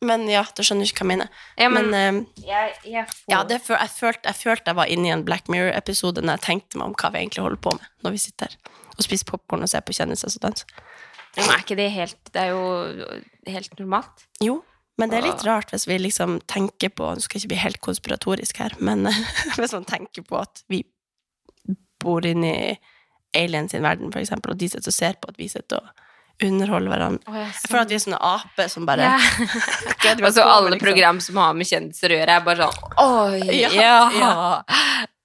Speaker 1: men ja, du skjønner ikke hva jeg mener.
Speaker 2: Ja, men,
Speaker 1: Men, eh,
Speaker 2: jeg, jeg får
Speaker 1: ja, det, føl- jeg, følte, jeg følte jeg var inne i en Black Mirror-episode når jeg tenkte meg om hva vi egentlig holder på med når vi sitter her og spiser popkorn og ser på kjendiser som danser.
Speaker 2: Men Er ikke det helt Det er jo helt normalt.
Speaker 1: Jo, men det er litt rart hvis vi liksom tenker på Du skal ikke bli helt konspiratorisk her, men hvis man tenker på at vi bor inni aliens sin verden, for eksempel, og de sitter og ser på at vi sitter og underholder hverandre.
Speaker 2: Oh,
Speaker 1: Jeg føler at vi er sånne aper som bare
Speaker 2: Ja.
Speaker 1: Hva er det vi
Speaker 2: Og
Speaker 1: holder på med,
Speaker 2: så Altså, alle
Speaker 1: liksom?
Speaker 2: program som har med kjendiser å gjøre, er bare sånn Oi,
Speaker 1: Ja,
Speaker 2: ja,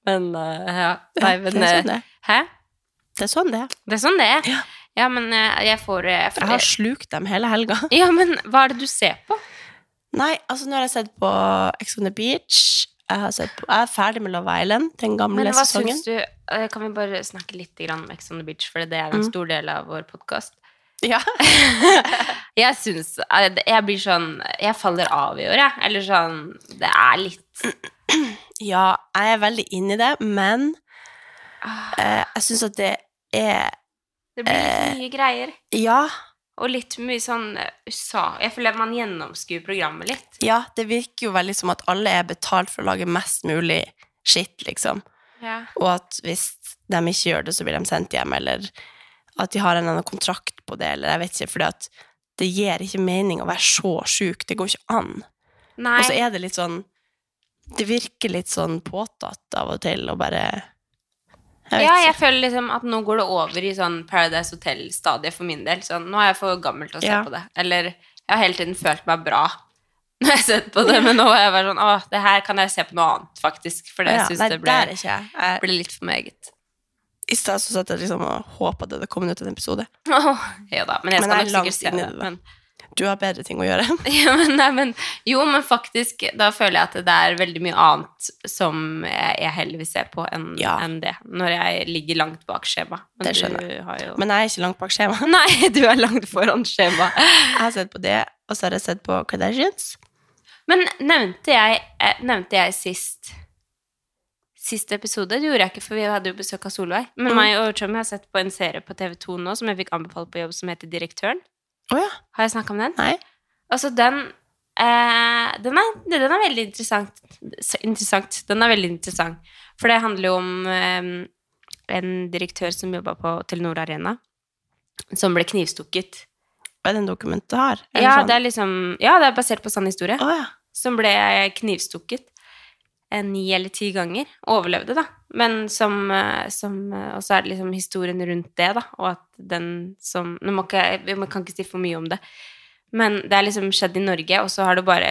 Speaker 2: Men eh, ja. Nei, men
Speaker 1: Det er sånn
Speaker 2: eh,
Speaker 1: det er.
Speaker 2: Hæ?
Speaker 1: Det er sånn det er.
Speaker 2: Det er sånn det er.
Speaker 1: Ja.
Speaker 2: Ja, men eh, jeg får, eh, jeg
Speaker 1: Jeg
Speaker 2: får
Speaker 1: har slukt dem hele helga.
Speaker 2: Ja, men hva er det du ser på?
Speaker 1: Nei, altså nå har jeg sett på Ex on the Beach. Jeg, har sett på, jeg er ferdig med Love Island, den gamle
Speaker 2: Men hva
Speaker 1: sesongen.
Speaker 2: syns du eh, Kan vi bare snakke litt grann om Ex on the Beach, for det er en
Speaker 1: Mm.
Speaker 2: stor del av vår podkast.
Speaker 1: Ja.
Speaker 2: Jeg syns Jeg blir sånn Jeg faller av i år, jeg. Eller sånn Det er litt
Speaker 1: ja, jeg er veldig inni det, men
Speaker 2: ah,
Speaker 1: eh, jeg syns at det er
Speaker 2: Det blir litt mye greier.
Speaker 1: Ja,
Speaker 2: Og litt mye sånn eh, USA Jeg føler at man gjennomskuer programmet litt.
Speaker 1: Ja, det virker jo veldig som at alle er betalt for å lage mest mulig skitt, liksom.
Speaker 2: Ja.
Speaker 1: Og at hvis de ikke gjør det, så blir de sendt hjem, eller at de har en eller annen kontrakt på det, eller jeg vet ikke, fordi at det gir ikke mening å være så sjuk. Det går ikke an.
Speaker 2: Nei.
Speaker 1: Og så er det litt sånn Det virker litt sånn påtatt av og til, og bare Jeg vet
Speaker 2: ja,
Speaker 1: ikke.
Speaker 2: jeg føler liksom at nå går det over i sånn Paradise Hotel-stadiet for min del. Sånn, nå er jeg for gammel til å se
Speaker 1: Ja.
Speaker 2: på det. Eller jeg har hele tiden følt meg bra når jeg har sett på det, men nå er jeg bare sånn Å, det her kan jeg se på noe annet, faktisk. For det
Speaker 1: Ja,
Speaker 2: syns
Speaker 1: nei,
Speaker 2: det
Speaker 1: der er
Speaker 2: ble,
Speaker 1: ikke jeg. jeg.
Speaker 2: ble litt for meget.
Speaker 1: I stad så satt jeg liksom og håpa det hadde kommet ut en episode.
Speaker 2: ja da, men
Speaker 1: Men
Speaker 2: jeg skal
Speaker 1: jeg er
Speaker 2: nok
Speaker 1: langt
Speaker 2: sikkert se
Speaker 1: inn i
Speaker 2: det.
Speaker 1: det, da.
Speaker 2: Men,
Speaker 1: Du har bedre ting å gjøre.
Speaker 2: ja, men, nei, men, jo, men faktisk, da føler jeg at det er veldig mye annet som jeg jeg heller vil se på enn
Speaker 1: Ja.
Speaker 2: enn det. Når jeg ligger langt bak skjema. Men
Speaker 1: Det skjønner
Speaker 2: du har jo
Speaker 1: Men jeg er ikke langt bak skjema.
Speaker 2: Nei, du er langt foran skjema.
Speaker 1: Jeg har sett på det, og så har jeg sett på Kardashians.
Speaker 2: Men nevnte jeg, eh, nevnte jeg sist Sist episode? Det gjorde jeg ikke, for vi hadde jo besøk av Solveig. Men
Speaker 1: Mm.
Speaker 2: meg og Tommy har sett på en serie på TV2 nå som jeg fikk anbefalt på jobb, som heter Direktøren.
Speaker 1: Å ja.
Speaker 2: Har jeg snakka om den?
Speaker 1: Nei.
Speaker 2: Altså, den eh, den, er, den er veldig interessant. Så interessant. Den er veldig interessant. For det handler jo om eh, en direktør som jobba på Telenor Arena, som ble knivstukket.
Speaker 1: Er det en dokumentar?
Speaker 2: Ja, det er liksom Ja, det er basert på sann historie.
Speaker 1: Å ja.
Speaker 2: som ble knivstukket eh, ni eller ti ganger. Overlevde, da. Men som, eh, som eh, Og så er det liksom historien rundt det, da, og at den som Nå må ikke jeg man kan ikke si for mye om det, men det er liksom skjedd i Norge, og så har det bare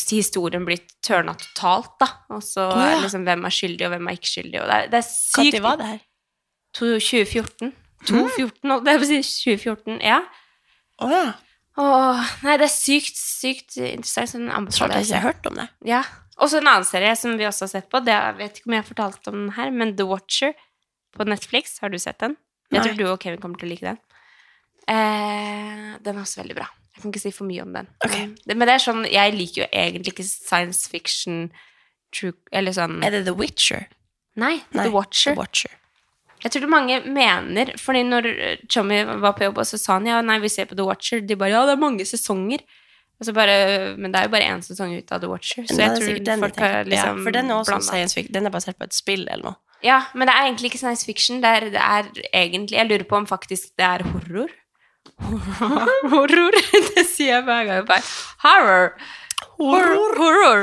Speaker 2: historien blitt tørna totalt, da. Og så
Speaker 1: Å, ja.
Speaker 2: er liksom hvem er skyldig, og hvem er ikke skyldig, og det er, det er sykt
Speaker 1: Når var det her?
Speaker 2: To- 2014. 2014, holdt jeg på å si. 2014, ja.
Speaker 1: Å ja.
Speaker 2: Åh, nei, det er sykt, sykt interessant. Så den
Speaker 1: Tror
Speaker 2: anbefaler
Speaker 1: jeg ikke jeg har hørt om det.
Speaker 2: ja. Og så en annen serie som vi også har sett på. Det, jeg vet ikke om jeg har fortalt om den her, men The Watcher på Netflix. Har du sett den? Jeg
Speaker 1: Nei.
Speaker 2: tror du og Kevin kommer til å like den. Eh, den er også veldig bra. Jeg kan ikke si for mye om den.
Speaker 1: Ok.
Speaker 2: Men, det- men det er sånn, jeg liker jo egentlig ikke science fiction true, Eller sånn
Speaker 1: Er det The Witcher?
Speaker 2: Nei,
Speaker 1: Nei,
Speaker 2: The Watcher.
Speaker 1: The Watcher.
Speaker 2: Jeg tror det mange mener, fordi når eh, Tommy var på jobb, og så sa han ja, nei, vi ser på The Watcher, de bare ja, det er mange sesonger. Og så bare, men det er jo bare én sesong ut av The Watcher, så
Speaker 1: Den
Speaker 2: jeg
Speaker 1: er
Speaker 2: tror
Speaker 1: sikkert den
Speaker 2: folk
Speaker 1: jeg tenker
Speaker 2: har
Speaker 1: på.
Speaker 2: liksom
Speaker 1: ja, For den er også
Speaker 2: blandet.
Speaker 1: science fiction. Den er basert på et spill eller noe.
Speaker 2: Ja, men det er egentlig ikke science fiction. Det er, det er egentlig Jeg lurer på om faktisk det er horror. Horror! Det sier jeg hver gang. jeg Bare. Horror. Horror. Horror.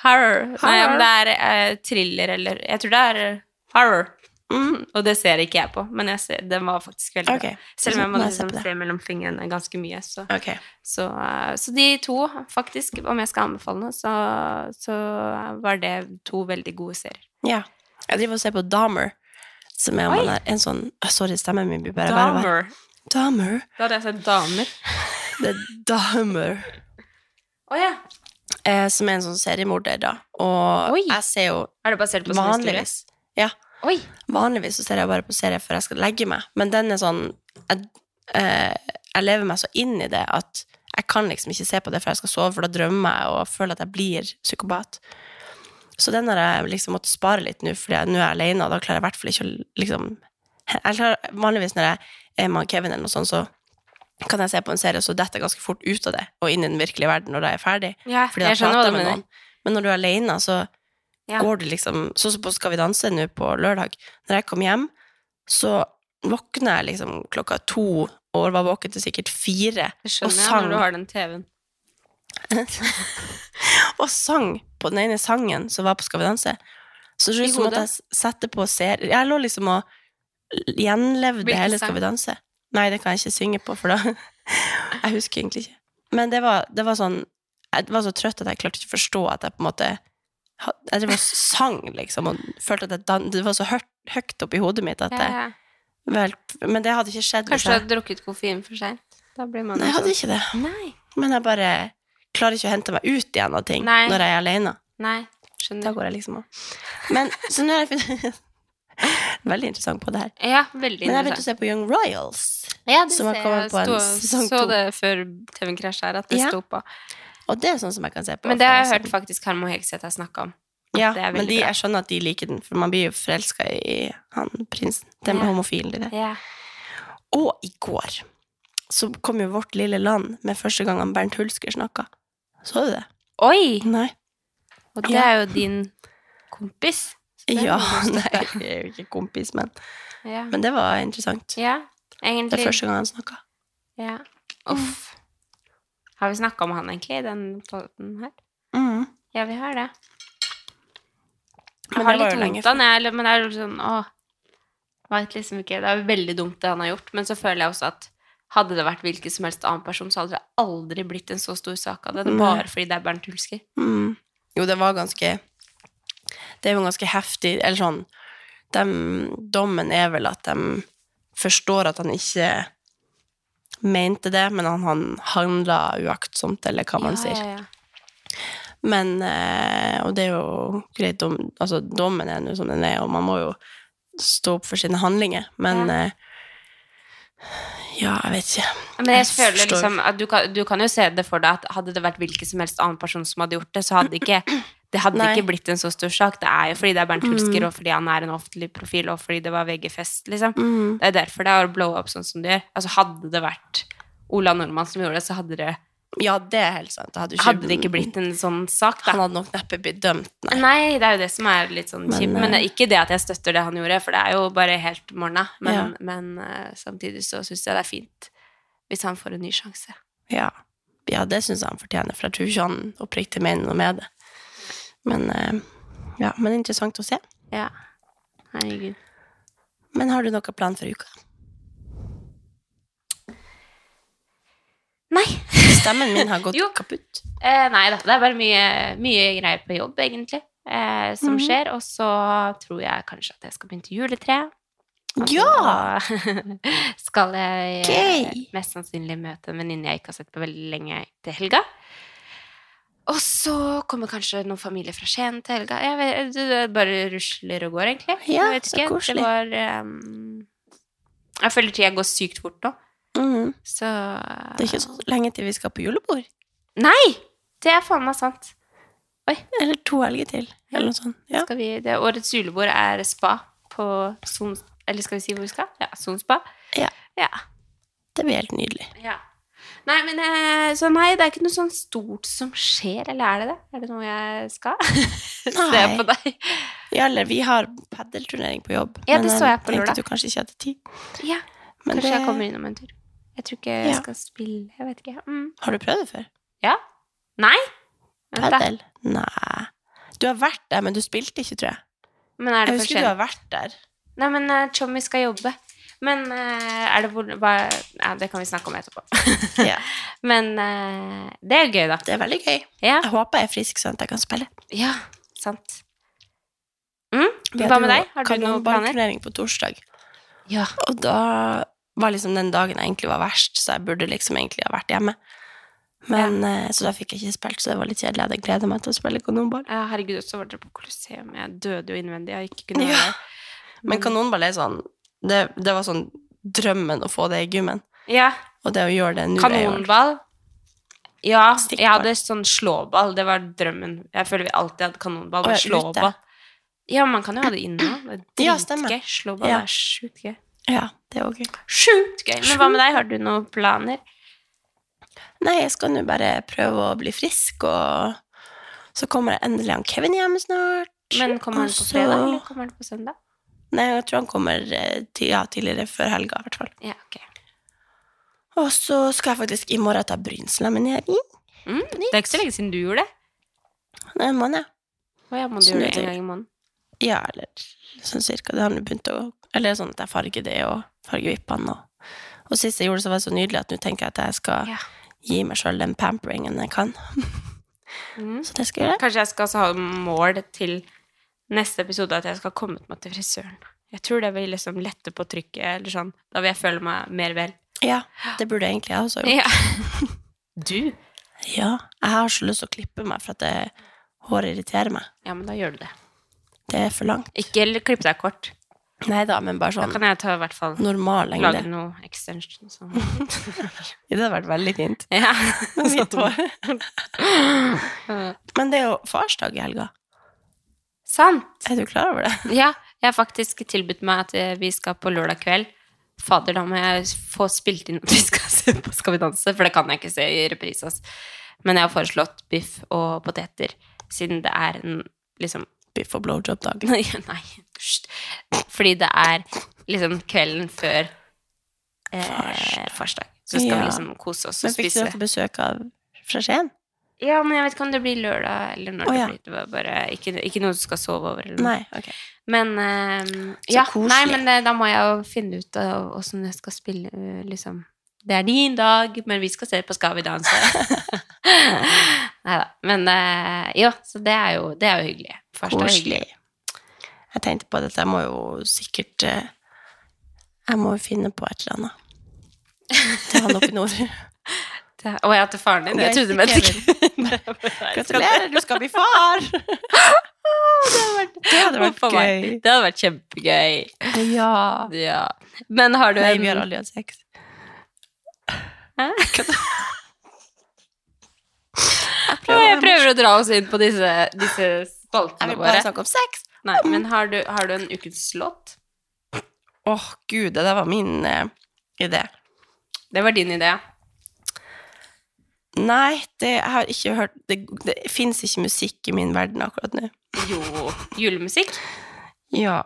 Speaker 2: Horror. Nei,
Speaker 1: Horror.
Speaker 2: om det er eh, thriller eller Jeg tror det er eh, horror.
Speaker 1: Mm.
Speaker 2: Og det ser ikke jeg på, men jeg ser, den var faktisk veldig
Speaker 1: Ok.
Speaker 2: bra. Selv om jeg
Speaker 1: Må
Speaker 2: må
Speaker 1: jeg se
Speaker 2: liksom
Speaker 1: på det?
Speaker 2: se mellom fingrene ganske mye. Så,
Speaker 1: Ok.
Speaker 2: så, eh, så de to, faktisk, om jeg skal anbefale noe, så, så var det to veldig gode serier.
Speaker 1: Ja. Jeg driver og ser på Dahmer, som er om
Speaker 2: Oi.
Speaker 1: han er en sånn Å, Sorry, stemmen min blir bare verre. og verre. Dahmer.
Speaker 2: Da hadde jeg sett damer.
Speaker 1: Det er Dahmer.
Speaker 2: Å ja.
Speaker 1: Eh, som er en sånn seriemorder, da. Og
Speaker 2: Oi.
Speaker 1: jeg ser jo
Speaker 2: Er det basert på sånn historie?
Speaker 1: vanligvis Ja.
Speaker 2: Oi.
Speaker 1: Vanligvis så ser jeg bare på serier før jeg skal legge meg, men den er sånn jeg, eh, jeg lever meg så inn i det at jeg kan liksom ikke se på det før jeg skal sove, for da drømmer jeg og føler at jeg blir psykopat. Så den har jeg liksom måttet spare litt nå, fordi jeg, nå er jeg alene, og da klarer jeg i hvert fall ikke å liksom jeg klarer, Vanligvis når jeg er med Kevin eller noe sånt, så kan jeg se på en serie, og så detter jeg ganske fort ut av det og inn i den virkelige verden når jeg er ferdig.
Speaker 2: Ja,
Speaker 1: Fordi da
Speaker 2: jeg skjønner hva
Speaker 1: prater
Speaker 2: du
Speaker 1: jeg med
Speaker 2: mener.
Speaker 1: noen. Men når du er alene, så
Speaker 2: Ja.
Speaker 1: går du liksom Sånn som på Skal vi danse nå på lørdag. Når jeg kom hjem, så våkna jeg liksom klokka to og var våken til sikkert fire
Speaker 2: Det
Speaker 1: og
Speaker 2: skjønner jeg
Speaker 1: sang.
Speaker 2: når du har den TV-en.
Speaker 1: og sang på den ene sangen som var på Skal vi danse. Så det
Speaker 2: I
Speaker 1: ut som at
Speaker 2: hodet?
Speaker 1: jeg s- sette på serier Jeg lå liksom og l- gjenlevde
Speaker 2: Hvilken
Speaker 1: hele
Speaker 2: sang?
Speaker 1: Skal vi danse. Nei, det kan jeg ikke synge på, for da Jeg husker egentlig ikke. Men det var, det var sånn Jeg var så trøtt at jeg klarte ikke å forstå at jeg på en måte ha- Jeg drev og sang, liksom, og følte at jeg dan det var så hørt, høyt oppi hodet mitt at jeg
Speaker 2: Ja, ja.
Speaker 1: vel, Men det hadde ikke skjedd. hvis
Speaker 2: Kanskje du
Speaker 1: jeg,
Speaker 2: har drukket koffein for seint? Da blir man
Speaker 1: Nei, jeg hadde
Speaker 2: sånn.
Speaker 1: ikke det.
Speaker 2: Nei.
Speaker 1: Men jeg bare klarer ikke å hente meg ut igjen av ting
Speaker 2: Nei.
Speaker 1: når jeg er alene.
Speaker 2: Nei.
Speaker 1: Da
Speaker 2: Skjønner.
Speaker 1: går jeg liksom av. Men så nå har jeg funnet Veldig interessant på det her.
Speaker 2: Ja, veldig
Speaker 1: Men jeg begynte å
Speaker 2: interessant.
Speaker 1: se på Young Royals.
Speaker 2: Ja, det
Speaker 1: som har
Speaker 2: ser
Speaker 1: kommet
Speaker 2: jeg.
Speaker 1: på en
Speaker 2: Sto-
Speaker 1: sesong
Speaker 2: Så
Speaker 1: to.
Speaker 2: det før TV-en krasja her, at det
Speaker 1: Ja.
Speaker 2: sto på.
Speaker 1: Og det er sånn som jeg kan se på.
Speaker 2: Men det har jeg
Speaker 1: for
Speaker 2: hørt faktisk Harmo Hegseth har snakka om.
Speaker 1: eksempel. Ja,
Speaker 2: det er veldig
Speaker 1: men de,
Speaker 2: bra.
Speaker 1: jeg skjønner at de liker den, for man blir jo forelska i han prinsen. Den
Speaker 2: Ja.
Speaker 1: homofile i det.
Speaker 2: Ja.
Speaker 1: Og i går så kom jo Vårt lille land med første gang han Bernt Hulsker snakka. Så du det?
Speaker 2: Oi!
Speaker 1: Nei.
Speaker 2: Og det er jo din kompis. Så det er
Speaker 1: Ja,
Speaker 2: jo noe å
Speaker 1: nei,
Speaker 2: støtte.
Speaker 1: vi er jo ikke kompis, men
Speaker 2: Ja.
Speaker 1: Men det var interessant.
Speaker 2: ja.
Speaker 1: Det er
Speaker 2: Egentlig.
Speaker 1: første gang han snakka.
Speaker 2: Ja. Uff. Har vi snakka om han egentlig i den poden her?
Speaker 1: Mm.
Speaker 2: Ja, vi har det.
Speaker 1: Men
Speaker 2: Jeg har
Speaker 1: det var
Speaker 2: litt
Speaker 1: jo lenge
Speaker 2: vondt av han, jeg, eller- men det er jo sånn Åh. Vet liksom ikke. Det er jo veldig dumt, det han har gjort. Men så føler jeg også at hadde det vært hvilken som helst annen person, så hadde det aldri blitt en så stor sak av det. det er
Speaker 1: Nei.
Speaker 2: bare fordi det er Bernt Hulsker.
Speaker 1: Mm. Jo, det var ganske Det er jo ganske heftig, eller sånn dem- Dommen er vel at de forstår at han ikke mente det, men han, han handla uaktsomt, eller hva man sier.
Speaker 2: Ja, ja, ja.
Speaker 1: Men eh, Og det er jo greit, dom, altså dommen er nå som den er, og man må jo stå opp for sine handlinger, men
Speaker 2: Ja.
Speaker 1: ja, ja jeg vet ikke.
Speaker 2: Men jeg
Speaker 1: Jeg
Speaker 2: føler
Speaker 1: forstår.
Speaker 2: liksom at du kan, du kan jo se det for deg at hadde det vært hvilken som helst annen person som hadde gjort det, så hadde ikke, det hadde
Speaker 1: Nei.
Speaker 2: ikke blitt en så stor sak. Det er jo fordi det er Bernt Hulsker,
Speaker 1: Mm.
Speaker 2: og fordi han er en offentlig profil, og fordi det var VG-fest, liksom.
Speaker 1: Mm.
Speaker 2: Det er derfor det er å blow up sånn som det gjør. Altså, hadde det vært Ola Nordmann som gjorde det, så hadde det,
Speaker 1: Ja, det er helt sant. Det hadde, jo
Speaker 2: hadde det ikke blitt en sånn sak, da.
Speaker 1: Han hadde nok neppe blitt dømt, nei.
Speaker 2: Nei, det er jo det som er litt sånn
Speaker 1: Men,
Speaker 2: kjipt. Men
Speaker 1: eh,
Speaker 2: ikke det at jeg støtter det han gjorde, for det er jo bare helt morna. Men,
Speaker 1: Ja.
Speaker 2: men eh, samtidig så syns jeg det er fint hvis han får en ny sjanse.
Speaker 1: Ja, ja det syns jeg han fortjener, for jeg tror ikke han oppriktig mener noe med det. Men, eh, ja, men interessant å se.
Speaker 2: Ja. Herregud.
Speaker 1: Men har du noen plan for uka?
Speaker 2: Nei.
Speaker 1: Stemmen min har gått
Speaker 2: Jo.
Speaker 1: kaputt.
Speaker 2: Eh, nei da. Det er bare mye, mye greier på jobb, egentlig, eh, som
Speaker 1: Mhm.
Speaker 2: skjer. Og så tror jeg kanskje at jeg skal begynne til juletre. Og
Speaker 1: Ja!
Speaker 2: så Altså, skal jeg eh,
Speaker 1: Gøy!
Speaker 2: mest sannsynlig møte en venninne jeg ikke har sett på veldig lenge, til helga. Og så kommer kanskje noen familie fra Skien til helga. Jeg vet, det det bare rusler og går, egentlig.
Speaker 1: Ja,
Speaker 2: jeg vet
Speaker 1: så
Speaker 2: ikke.
Speaker 1: koselig.
Speaker 2: Det var eh, Jeg føler tida går sykt fort nå,
Speaker 1: Mhm.
Speaker 2: så
Speaker 1: Det er ikke så lenge til vi skal på julebord.
Speaker 2: Nei! Det er faen meg sant.
Speaker 1: Eller to helger til, eller noe sånt. Ja.
Speaker 2: Skal vi, det, årets julebord er spa på Son... Eller skal vi si hvor vi skal? Ja, Son spa.
Speaker 1: Ja.
Speaker 2: ja.
Speaker 1: Det blir helt nydelig.
Speaker 2: Ja. Nei, men eh, så nei, det er ikke noe sånn stort som skjer, eller er det det? Er det noe jeg skal? Se
Speaker 1: Nei.
Speaker 2: på deg.
Speaker 1: Ja, eller vi har padelturnering på jobb.
Speaker 2: Ja, det
Speaker 1: men
Speaker 2: så jeg på lørdag.
Speaker 1: tenkte du kanskje ikke hadde tid.
Speaker 2: Ja,
Speaker 1: Men
Speaker 2: kanskje
Speaker 1: det-
Speaker 2: jeg kommer innom en tur. Jeg tror ikke
Speaker 1: Ja.
Speaker 2: jeg skal spille, jeg vet ikke. Mm.
Speaker 1: Har du prøvd det før?
Speaker 2: Ja? Nei? Vent da.
Speaker 1: Padel? Nei. Du har vært der, men du spilte ikke, tror jeg.
Speaker 2: Men er
Speaker 1: Jeg
Speaker 2: det for
Speaker 1: husker du
Speaker 2: sent?
Speaker 1: har vært der.
Speaker 2: Nei, men eh, Tjommi skal jobbe. Men eh, er det hvor hva, ja, Det kan vi snakke om etterpå.
Speaker 1: Ja.
Speaker 2: Men eh, det er gøy, da.
Speaker 1: Det er veldig gøy.
Speaker 2: Ja.
Speaker 1: Jeg håper jeg er frisk, sånn at jeg kan spille.
Speaker 2: ja sant. Mm? Hva med deg? Har du noen planer?
Speaker 1: Kanonballturnering på torsdag.
Speaker 2: Ja.
Speaker 1: Og da var liksom den dagen jeg egentlig var verst, så jeg burde liksom egentlig ha vært hjemme. Men, eh, Så da fikk jeg ikke spilt, så det var litt kjedelig. Jeg hadde gledet meg til å spille kanonball.
Speaker 2: Ja, herregud, så var dere på Colosseum. Jeg døde jo innvendig. Jeg ikke kunne
Speaker 1: Ja.
Speaker 2: være der. Mm.
Speaker 1: Men kanonball er sånn Det, det var sånn drømmen å få det i gymmen.
Speaker 2: Ja,
Speaker 1: Og det å gjøre det nå er jo
Speaker 2: kanonball. Ja, jeg
Speaker 1: Stikkball.
Speaker 2: hadde sånn slåball. Det var drømmen. Jeg føler vi alltid hadde kanonball,
Speaker 1: Å,
Speaker 2: men
Speaker 1: ja, ute.
Speaker 2: slåball Ja, man kan jo ha det inne òg. Det
Speaker 1: Ja,
Speaker 2: er
Speaker 1: stemmer.
Speaker 2: dritgøy. Slåball
Speaker 1: Ja.
Speaker 2: er sjukt gøy.
Speaker 1: Ja, det er jo gøy.
Speaker 2: Sjukt gøy. Men hva med deg? Har du noen planer?
Speaker 1: Nei, jeg skal nå bare prøve å bli frisk, og så kommer jeg endelig han Kevin hjem snart.
Speaker 2: Men kommer han på
Speaker 1: Altså-
Speaker 2: fredag, eller kommer han på søndag?
Speaker 1: Nei, jeg tror han kommer eh, ti- ja, tidligere før helga, i hvert fall.
Speaker 2: Ja, ok.
Speaker 1: Og så skal jeg faktisk i morgen ta brynslaminering.
Speaker 2: Mm, det er ikke så lenge siden du gjorde det.
Speaker 1: Det er en måned.
Speaker 2: Å ja, må du
Speaker 1: Så
Speaker 2: gjøre
Speaker 1: nå
Speaker 2: det
Speaker 1: tenker-
Speaker 2: en gang i måneden?
Speaker 1: Ja, eller sånn cirka. Det har nå begynt å Eller sånn at jeg farger det og farger vippene. Og, og sist jeg gjorde det, så var det så nydelig at nå tenker jeg at jeg skal
Speaker 2: Ja.
Speaker 1: gi meg sjøl den pamperingen jeg kan.
Speaker 2: Mm.
Speaker 1: Så det skal jeg gjøre.
Speaker 2: Kanskje jeg skal også ha mål til neste episode at jeg skal ha kommet meg til frisøren. Jeg tror det vil liksom lette på trykket, eller sånn. Da vil jeg føle meg mer vel.
Speaker 1: Ja, det burde jeg egentlig jeg også gjort.
Speaker 2: Ja. Du?
Speaker 1: Ja. Jeg har så lyst til å klippe meg for at det, håret irriterer meg.
Speaker 2: Ja, men da gjør du det.
Speaker 1: Det er for langt.
Speaker 2: Ikke l- klipp deg kort.
Speaker 1: Nei da, men bare
Speaker 2: Da
Speaker 1: sånn
Speaker 2: kan jeg ta i hvert fall
Speaker 1: normal
Speaker 2: lage
Speaker 1: lengde.
Speaker 2: noe extension. Sånn.
Speaker 1: Det hadde vært veldig fint.
Speaker 2: Ja. Sånn.
Speaker 1: Hvitt hår. Men det er jo farsdag i helga.
Speaker 2: Sant.
Speaker 1: Er du klar over det?
Speaker 2: Ja, jeg har faktisk tilbudt meg at eh, vi skal på lørdag kveld Fader, da må jeg få spilt inn at vi skal se på Skal vi danse, for det kan jeg ikke se i reprise. ass. Men jeg har foreslått biff og poteter, siden det er en liksom
Speaker 1: Biff og blowjob-dag.
Speaker 2: Nei, nei. hysj. Fordi det er liksom kvelden før eh, farsdag. Så skal
Speaker 1: Ja.
Speaker 2: vi liksom kose oss og
Speaker 1: Men fikk
Speaker 2: spise.
Speaker 1: dere besøk av fra Skien?
Speaker 2: Ja, men jeg vet ikke om det blir lørdag eller når
Speaker 1: Å,
Speaker 2: det
Speaker 1: ja.
Speaker 2: blir. Det var bare ikke, ikke noe du skal sove over. Eller noe.
Speaker 1: Nei. ok.
Speaker 2: Men ehm,
Speaker 1: Så
Speaker 2: ja,
Speaker 1: koselig.
Speaker 2: nei, men eh, da må jeg jo finne ut av åssen jeg skal spille, eh, liksom. Det er din dag, men vi skal se på Skal vi danse. nei da. Men eh, jo, så det er jo, det er jo hyggelig. Farsdag er hyggelig.
Speaker 1: Koselig. Jeg tenkte på at jeg må jo sikkert eh, Jeg må jo finne på et eller annet. Til han oppe i nord.
Speaker 2: Det er- Å, jeg heter faren din.
Speaker 1: Nei,
Speaker 2: Jeg trodde du
Speaker 1: ikke
Speaker 2: mente
Speaker 1: Kevin.
Speaker 2: Gratulerer.
Speaker 1: du skal bli far! Det hadde vært
Speaker 2: Huff a meg.
Speaker 1: gøy.
Speaker 2: Det hadde vært kjempegøy.
Speaker 1: Ja.
Speaker 2: Ja. Men har du
Speaker 1: Nei,
Speaker 2: en
Speaker 1: vi har aldri hatt sex.
Speaker 2: Hæ?
Speaker 1: Jeg
Speaker 2: Å, Jeg prøver å dra oss inn på disse, disse
Speaker 1: Jeg
Speaker 2: spaltene
Speaker 1: vil bare
Speaker 2: våre.
Speaker 1: snakke om sex.
Speaker 2: Nei, men har du, har du en ukens låt?
Speaker 1: Åh, gud, det der var min eh, idé.
Speaker 2: Det var din idé.
Speaker 1: Nei, det jeg har ikke hørt Det, det fins ikke musikk i min verden akkurat nå.
Speaker 2: Jo, julemusikk.
Speaker 1: Ja.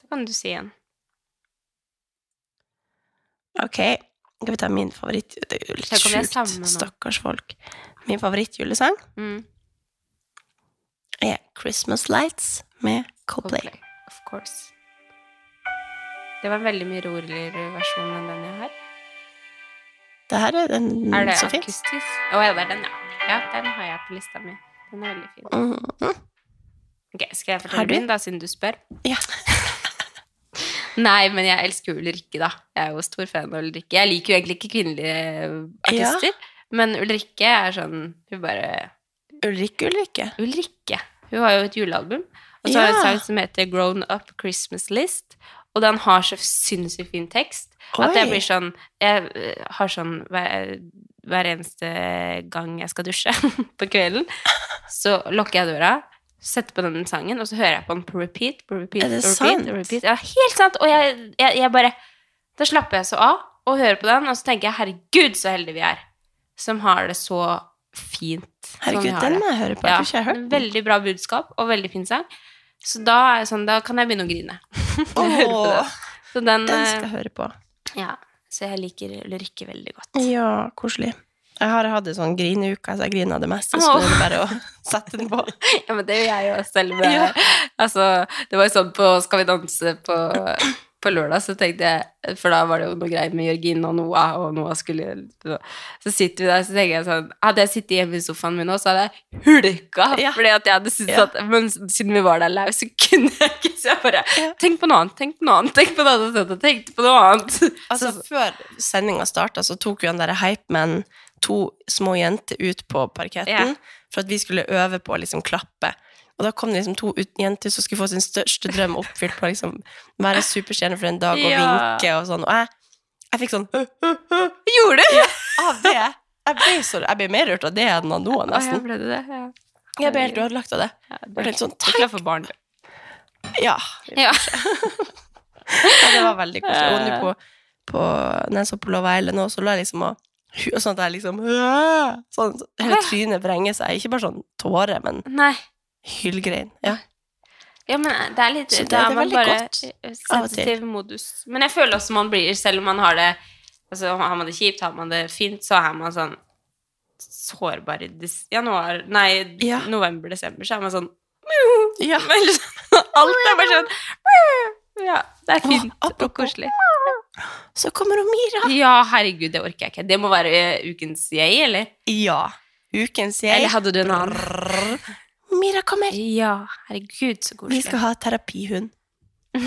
Speaker 2: Det kan du si igjen.
Speaker 1: Ok, skal vi ta min favoritt Det er jo litt
Speaker 2: Tenk om jeg savner
Speaker 1: sjukt,
Speaker 2: noen.
Speaker 1: stakkars folk. Min favorittjulesang
Speaker 2: Mm.
Speaker 1: er Christmas Lights med Coldplay.
Speaker 2: Coldplay. Of course. Det var en veldig mye roligere versjon enn den jeg har.
Speaker 1: Det her er den
Speaker 2: Er det
Speaker 1: som fins.
Speaker 2: akustisk? Å ja, det er den, ja. Ja, den har jeg på lista mi. Den er veldig fin.
Speaker 1: Mhm.
Speaker 2: Ok, Skal jeg
Speaker 1: Har
Speaker 2: fortelle
Speaker 1: du?
Speaker 2: min, da, siden du spør?
Speaker 1: Ja.
Speaker 2: Nei, men jeg elsker jo Ulrikke, da. Jeg er jo stor fan av Ulrikke. Jeg liker jo egentlig ikke kvinnelige artister, men Ulrikke er sånn Hun bare
Speaker 1: Ulrikke Ulrikke.
Speaker 2: Ulrikke. Hun har jo et julealbum. Og så har hun
Speaker 1: Ja.
Speaker 2: en sang som heter Grown Up Christmas List. Og den har så sinnssykt fin tekst at jeg
Speaker 1: Oi.
Speaker 2: blir sånn Jeg eh, har sånn hver, hver eneste gang jeg skal dusje på kvelden, så lukker jeg døra, setter på den sangen, og så hører jeg på den på repeat, på repeat,
Speaker 1: Er det
Speaker 2: på
Speaker 1: sant?
Speaker 2: repeat, på repeat. Ja, helt sant! Og jeg, jeg, jeg bare Da slapper jeg så av og hører på den, og så tenker jeg herregud, så heldige vi er som har det så fint. som vi
Speaker 1: Herregud,
Speaker 2: har
Speaker 1: den
Speaker 2: det.
Speaker 1: må jeg høre på. Jeg tror ikke jeg har hørt den.
Speaker 2: Veldig bra budskap og veldig fin sang. Så da, er jeg sånn, da kan jeg begynne å grine. Når jeg hører på
Speaker 1: Åh,
Speaker 2: den. Så den,
Speaker 1: den
Speaker 2: eh,
Speaker 1: skal jeg høre på.
Speaker 2: ja, så jeg liker Ulrikke veldig godt.
Speaker 1: Ja, koselig. Jeg har hatt en sånn grineuke, så jeg griner av det meste. Så nå
Speaker 2: Åh.
Speaker 1: er det bare å sette den på.
Speaker 2: Ja, men det gjør jeg jo selv. Med,
Speaker 1: Ja.
Speaker 2: altså, det var jo sånn på Skal vi danse på, på lørdag, så tenkte jeg For da var det jo noe greier med Jørgine og Noah, og Noah skulle Så sitter vi der, så tenker jeg sånn Hadde jeg sittet hjemme i sofaen min nå, så hadde jeg hulka.
Speaker 1: Ja.
Speaker 2: Fordi at jeg hadde syntes
Speaker 1: Ja.
Speaker 2: at Men siden vi var der live, så kunne jeg ikke. Så jeg bare
Speaker 1: Ja.
Speaker 2: Tenk på noe annet, tenk på noe annet, tenk på noe annet. og Tenkte på noe annet.
Speaker 1: Altså, før sendinga starta, så tok jo han derre hypeman to små jenter ut på parketten
Speaker 2: Ja.
Speaker 1: for at vi skulle øve på å liksom klappe. Og da kom det liksom to ut- jenter som skulle få sin største drøm oppfylt på å liksom være superstjerne for en dag og
Speaker 2: Ja.
Speaker 1: vinke og sånn. Og jeg, jeg fikk sånn
Speaker 2: Gjorde du?
Speaker 1: av det. Jeg ble, så, jeg ble mer rørt av det enn av noe,
Speaker 2: Å, ja,
Speaker 1: nesten.
Speaker 2: ble det det? Ja.
Speaker 1: Jeg ble helt ødelagt av det.
Speaker 2: Ja,
Speaker 1: Jeg ble helt sånn,
Speaker 2: Du er klar for barn, du.
Speaker 1: Ja.
Speaker 2: Ja. Eh.
Speaker 1: Ja, det var veldig koselig. Og nå på, på, når jeg så på Love Island nå, så lå jeg liksom og og Sånn at jeg liksom «Åh!» Sånn så hele
Speaker 2: Ah.
Speaker 1: trynet vrenger seg. Ikke bare sånn tåre, men
Speaker 2: Nei.
Speaker 1: hylgrein. Ja.
Speaker 2: Ja, men det er litt
Speaker 1: Så det- det
Speaker 2: Da er
Speaker 1: er
Speaker 2: man
Speaker 1: veldig
Speaker 2: bare eh,
Speaker 1: godt, av og til.
Speaker 2: sensitiv modus. Men jeg føler også man blir, selv om man har det Altså, har man det kjipt, har man det fint, så er man sånn sårbar i des januar Nei,
Speaker 1: Ja.
Speaker 2: november-desember, så er man sånn
Speaker 1: ja.
Speaker 2: Vel, Alt er bare sånn Ja, det er fint
Speaker 1: Åh,
Speaker 2: og
Speaker 1: apropos.
Speaker 2: koselig.
Speaker 1: Så kommer hun Mira.
Speaker 2: Ja, herregud, det orker jeg ikke. Det må være eh, ukens jeg, eller?
Speaker 1: Ja. Ukens jeg.
Speaker 2: Eller hadde du en annen?
Speaker 1: Mira kommer.
Speaker 2: Ja, herregud, så
Speaker 1: Vi
Speaker 2: koselig.
Speaker 1: skal ha terapihund.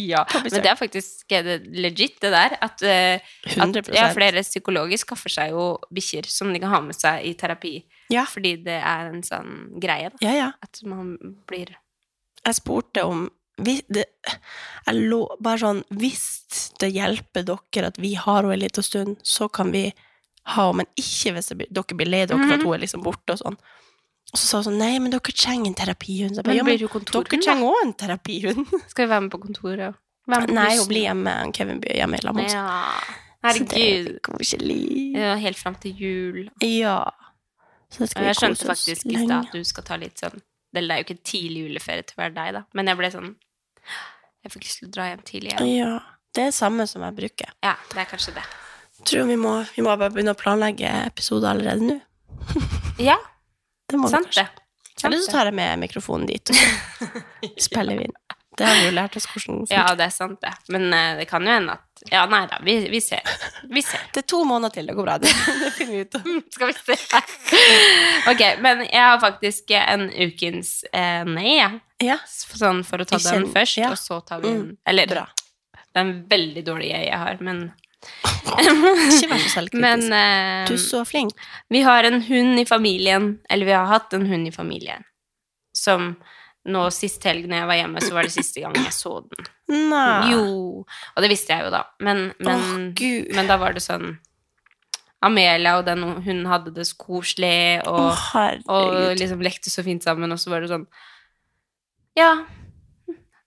Speaker 2: ja,
Speaker 1: På besøk.
Speaker 2: men det er faktisk er det legit, det der. At, eh, at
Speaker 1: 100%.
Speaker 2: ja, flere psykologer skaffer seg jo bikkjer som de kan ha med seg i terapi.
Speaker 1: Ja.
Speaker 2: Fordi det er en sånn greie, da.
Speaker 1: Ja, ja.
Speaker 2: At man blir
Speaker 1: Jeg spurte om vi, det, Jeg lå bare sånn Hvis det hjelper dere at vi har henne en liten stund, så kan vi ha henne, men ikke hvis det, blir- dere blir lei dere for
Speaker 2: Mhm.
Speaker 1: at hun er liksom borte og sånn. Og så sa hun sånn Nei, men dere trenger en terapihund. Så jeg bare,
Speaker 2: Men
Speaker 1: ja,
Speaker 2: blir
Speaker 1: men
Speaker 2: det jo
Speaker 1: dere
Speaker 2: kontorhund, da?
Speaker 1: trenger òg en terapihund.
Speaker 2: Skal vi være med på kontoret og Hvem
Speaker 1: Nei, hun blir hjemme. han Kevin blir hjemme i lag med oss. Så det
Speaker 2: Ja.
Speaker 1: er
Speaker 2: Herregud.
Speaker 1: Koselig.
Speaker 2: Det var helt fram til jul.
Speaker 1: Ja. Så
Speaker 2: Og
Speaker 1: skal
Speaker 2: jeg
Speaker 1: vi
Speaker 2: skjønte
Speaker 1: kose oss
Speaker 2: faktisk i stad
Speaker 1: lenge.
Speaker 2: at du skal ta litt sånn Eller det er jo ikke tidlig juleferie til å være deg, da, men jeg ble sånn Jeg fikk lyst til å dra hjem tidlig igjen.
Speaker 1: Ja. Det er samme som jeg bruker.
Speaker 2: Ja, det er kanskje det.
Speaker 1: Tror vi må, vi må bare begynne å planlegge episoder allerede nå.
Speaker 2: Ja,
Speaker 1: Det må
Speaker 2: sant
Speaker 1: vi kanskje.
Speaker 2: det.
Speaker 1: Eller så tar jeg med mikrofonen dit, og så spiller vi inn. Det har vi jo lært oss hvordan funker.
Speaker 2: Ja, det er sant, det. Men eh, det kan jo hende at Ja, nei da, vi, vi ser. Vi ser.
Speaker 1: Det er to måneder til. Det går bra. Det, det finner Mm, vi ut av.
Speaker 2: Skal vi se Ok, men jeg har faktisk eh, en ukens eh, nei, jeg.
Speaker 1: Ja.
Speaker 2: Sånn for å ta
Speaker 1: Ikke
Speaker 2: den
Speaker 1: en-
Speaker 2: først,
Speaker 1: ja.
Speaker 2: og så tar vi den
Speaker 1: Mm,
Speaker 2: Eller
Speaker 1: bra.
Speaker 2: det er en veldig dårlig jeg jeg har, men
Speaker 1: Ikke vær så selvkritisk.
Speaker 2: Men eh,
Speaker 1: du er så flink.
Speaker 2: vi har en hund i familien, eller vi har hatt en hund i familien, som nå sist helg når jeg var hjemme, så var det siste gang jeg så den.
Speaker 1: Nei.
Speaker 2: Jo, og det visste jeg jo da, men, men
Speaker 1: Ah. Åh, Gud.
Speaker 2: Men da var det sånn Amelia og den hun hadde det så koselig,
Speaker 1: Å,
Speaker 2: og, og
Speaker 1: herregud.
Speaker 2: liksom lekte så fint sammen, og så var det sånn Ja.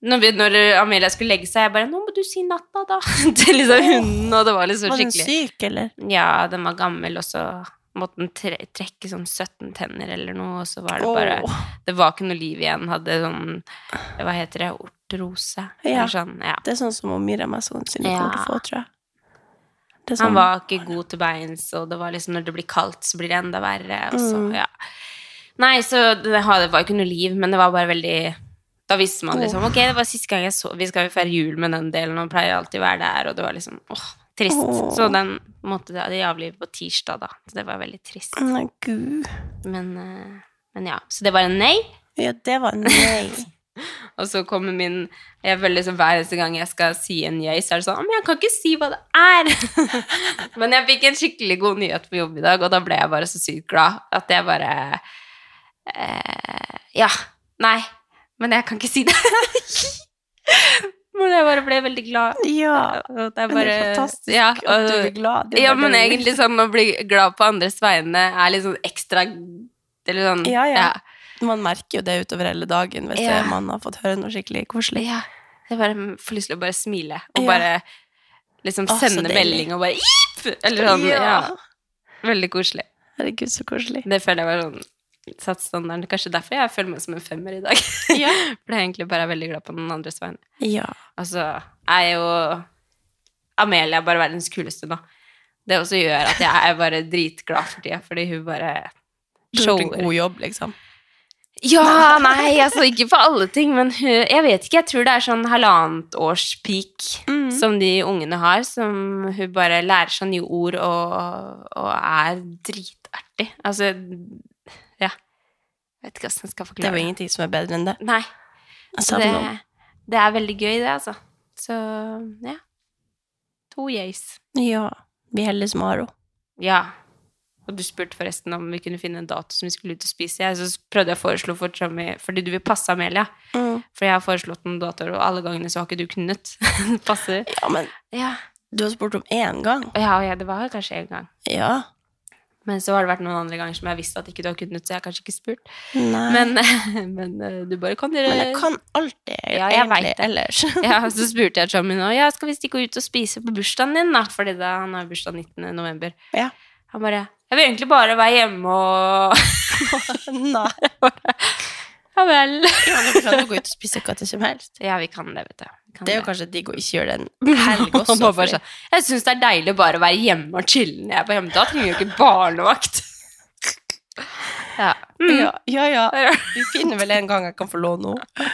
Speaker 2: Når, vi, når Amelia skulle legge seg, jeg bare 'Nå må du si natta, da.' til liksom hunden, og det var liksom
Speaker 1: Var den
Speaker 2: skikkelig
Speaker 1: syk, eller?
Speaker 2: Ja, den var gammel, og så måtte den tre trekke sånn 17 tenner eller noe, og så var det
Speaker 1: Åh.
Speaker 2: bare Det var ikke noe liv igjen. Hadde sånn Hva heter det? Ortrose?
Speaker 1: Ja.
Speaker 2: Eller sånn. Ja.
Speaker 1: Det er sånn som Miriam Messon sine
Speaker 2: Ja.
Speaker 1: kommer til å få, tror jeg. Det er
Speaker 2: Han
Speaker 1: sånn-
Speaker 2: var ikke god til beins, og det var liksom når det blir kaldt, så blir det enda verre. Og så,
Speaker 1: Mm.
Speaker 2: ja. Nei, så det ha- det var ikke noe liv, men det var bare veldig Da visste man liksom Ok, det var siste gang jeg så Vi skal jo feire jul med den delen, og pleier alltid å være der, og det var liksom åh, trist.
Speaker 1: Åh.
Speaker 2: Så den måtte de avlive på tirsdag, da. Så det var veldig trist.
Speaker 1: Nei, gud.
Speaker 2: Men, eh, men ja. Så det var en nei.
Speaker 1: Ja, det var nei.
Speaker 2: Og så kommer min jeg føler liksom Hver eneste gang jeg skal si en jeg, så er det sånn «Å, Men jeg kan ikke si hva det er! men jeg fikk en skikkelig god nyhet på jobb i dag, og da ble jeg bare så sykt glad at jeg bare eh, Ja. Nei. Men jeg kan ikke si det. men jeg bare ble veldig glad.
Speaker 1: Ja.
Speaker 2: Og det er
Speaker 1: Men
Speaker 2: bare
Speaker 1: det er fantastisk
Speaker 2: ja,
Speaker 1: at du
Speaker 2: og-
Speaker 1: blir glad. Det er
Speaker 2: ja,
Speaker 1: bare
Speaker 2: men
Speaker 1: det vi vil.
Speaker 2: egentlig sånn å bli glad på andres vegne er litt sånn ekstra Eller sånn
Speaker 1: Ja, ja. Man merker jo det utover hele dagen hvis
Speaker 2: Ja.
Speaker 1: det- man har fått høre noe skikkelig koselig.
Speaker 2: Ja. Jeg bare får lyst til å bare smile og
Speaker 1: Ja.
Speaker 2: bare liksom
Speaker 1: Å, så
Speaker 2: sende
Speaker 1: deilig.
Speaker 2: melding og bare Ip! Eller sånn. Ja. Veldig koselig.
Speaker 1: Herregud, så koselig.
Speaker 2: Det føler jeg var sånn satt standarden. Kanskje derfor jeg føler meg som en femmer i dag.
Speaker 1: Ja.
Speaker 2: For jeg er egentlig bare veldig glad på den andres vegne.
Speaker 1: Ja.
Speaker 2: Altså, jeg er jo Amelia er bare verdens kuleste nå. Det også gjør at jeg er bare dritglad for tida, fordi hun bare
Speaker 1: Du har gjort en god jobb, liksom.
Speaker 2: Ja, nei, altså ikke for alle ting, men hun- jeg vet ikke. Jeg tror det er sånn halvannet års peak
Speaker 1: Mm.
Speaker 2: som de ungene har, som hun bare lærer seg nye ord og, og er dritartig. Altså, ja. Jeg vet ikke hvordan jeg skal
Speaker 1: Det er
Speaker 2: forklare
Speaker 1: jo ingenting som er bedre enn det.
Speaker 2: Nei,
Speaker 1: Jeg
Speaker 2: så
Speaker 1: savner henne.
Speaker 2: det, det er veldig gøy, det, altså. Så ja. To yeas.
Speaker 1: Ja. Vi er heldige som har henne.
Speaker 2: Ja. Og du spurte forresten om vi kunne finne en dato som vi skulle ut og spise. Jeg, så prøvde jeg å foreslå for Tommy, fordi du vil passe Amelia. For jeg har foreslått noen datoer, og alle gangene så har ikke du kunnet. Passer.
Speaker 1: Ja, men
Speaker 2: Ja.
Speaker 1: du har spurt om én gang.
Speaker 2: Og ja, ja, det var kanskje en gang.
Speaker 1: Ja.
Speaker 2: Men så har det vært noen andre ganger som jeg har visst at ikke du har kunnet, så jeg har kanskje ikke spurt.
Speaker 1: Nei.
Speaker 2: Men, men eh, du bare kan dere
Speaker 1: Men jeg kan alltid,
Speaker 2: Ja, jeg
Speaker 1: egentlig,
Speaker 2: vet det.
Speaker 1: ellers.
Speaker 2: Ja, så spurte jeg Tommy nå, ja, skal vi stikke ut og spise på bursdagen din, da? Fordi da, han har bursdag 19. november.
Speaker 1: Ja.
Speaker 2: Han bare, jeg vil egentlig bare være hjemme og
Speaker 1: Nei.
Speaker 2: Ja vel.
Speaker 1: Ja, men vi kan jo gå ut og spise hva til som helst.
Speaker 2: Ja, vi kan det, vet du. Vi kan
Speaker 1: Det er jo kanskje digg å ikke gjøre det en helg også.
Speaker 2: Han var bare
Speaker 1: fordi-
Speaker 2: sånn, jeg syns det er deilig å bare å være hjemme og chille når jeg er på hjemme. Da trenger jeg jo ikke barnevakt. Ja. Mm.
Speaker 1: ja, ja, ja. Vi finner vel en gang jeg kan få låne henne.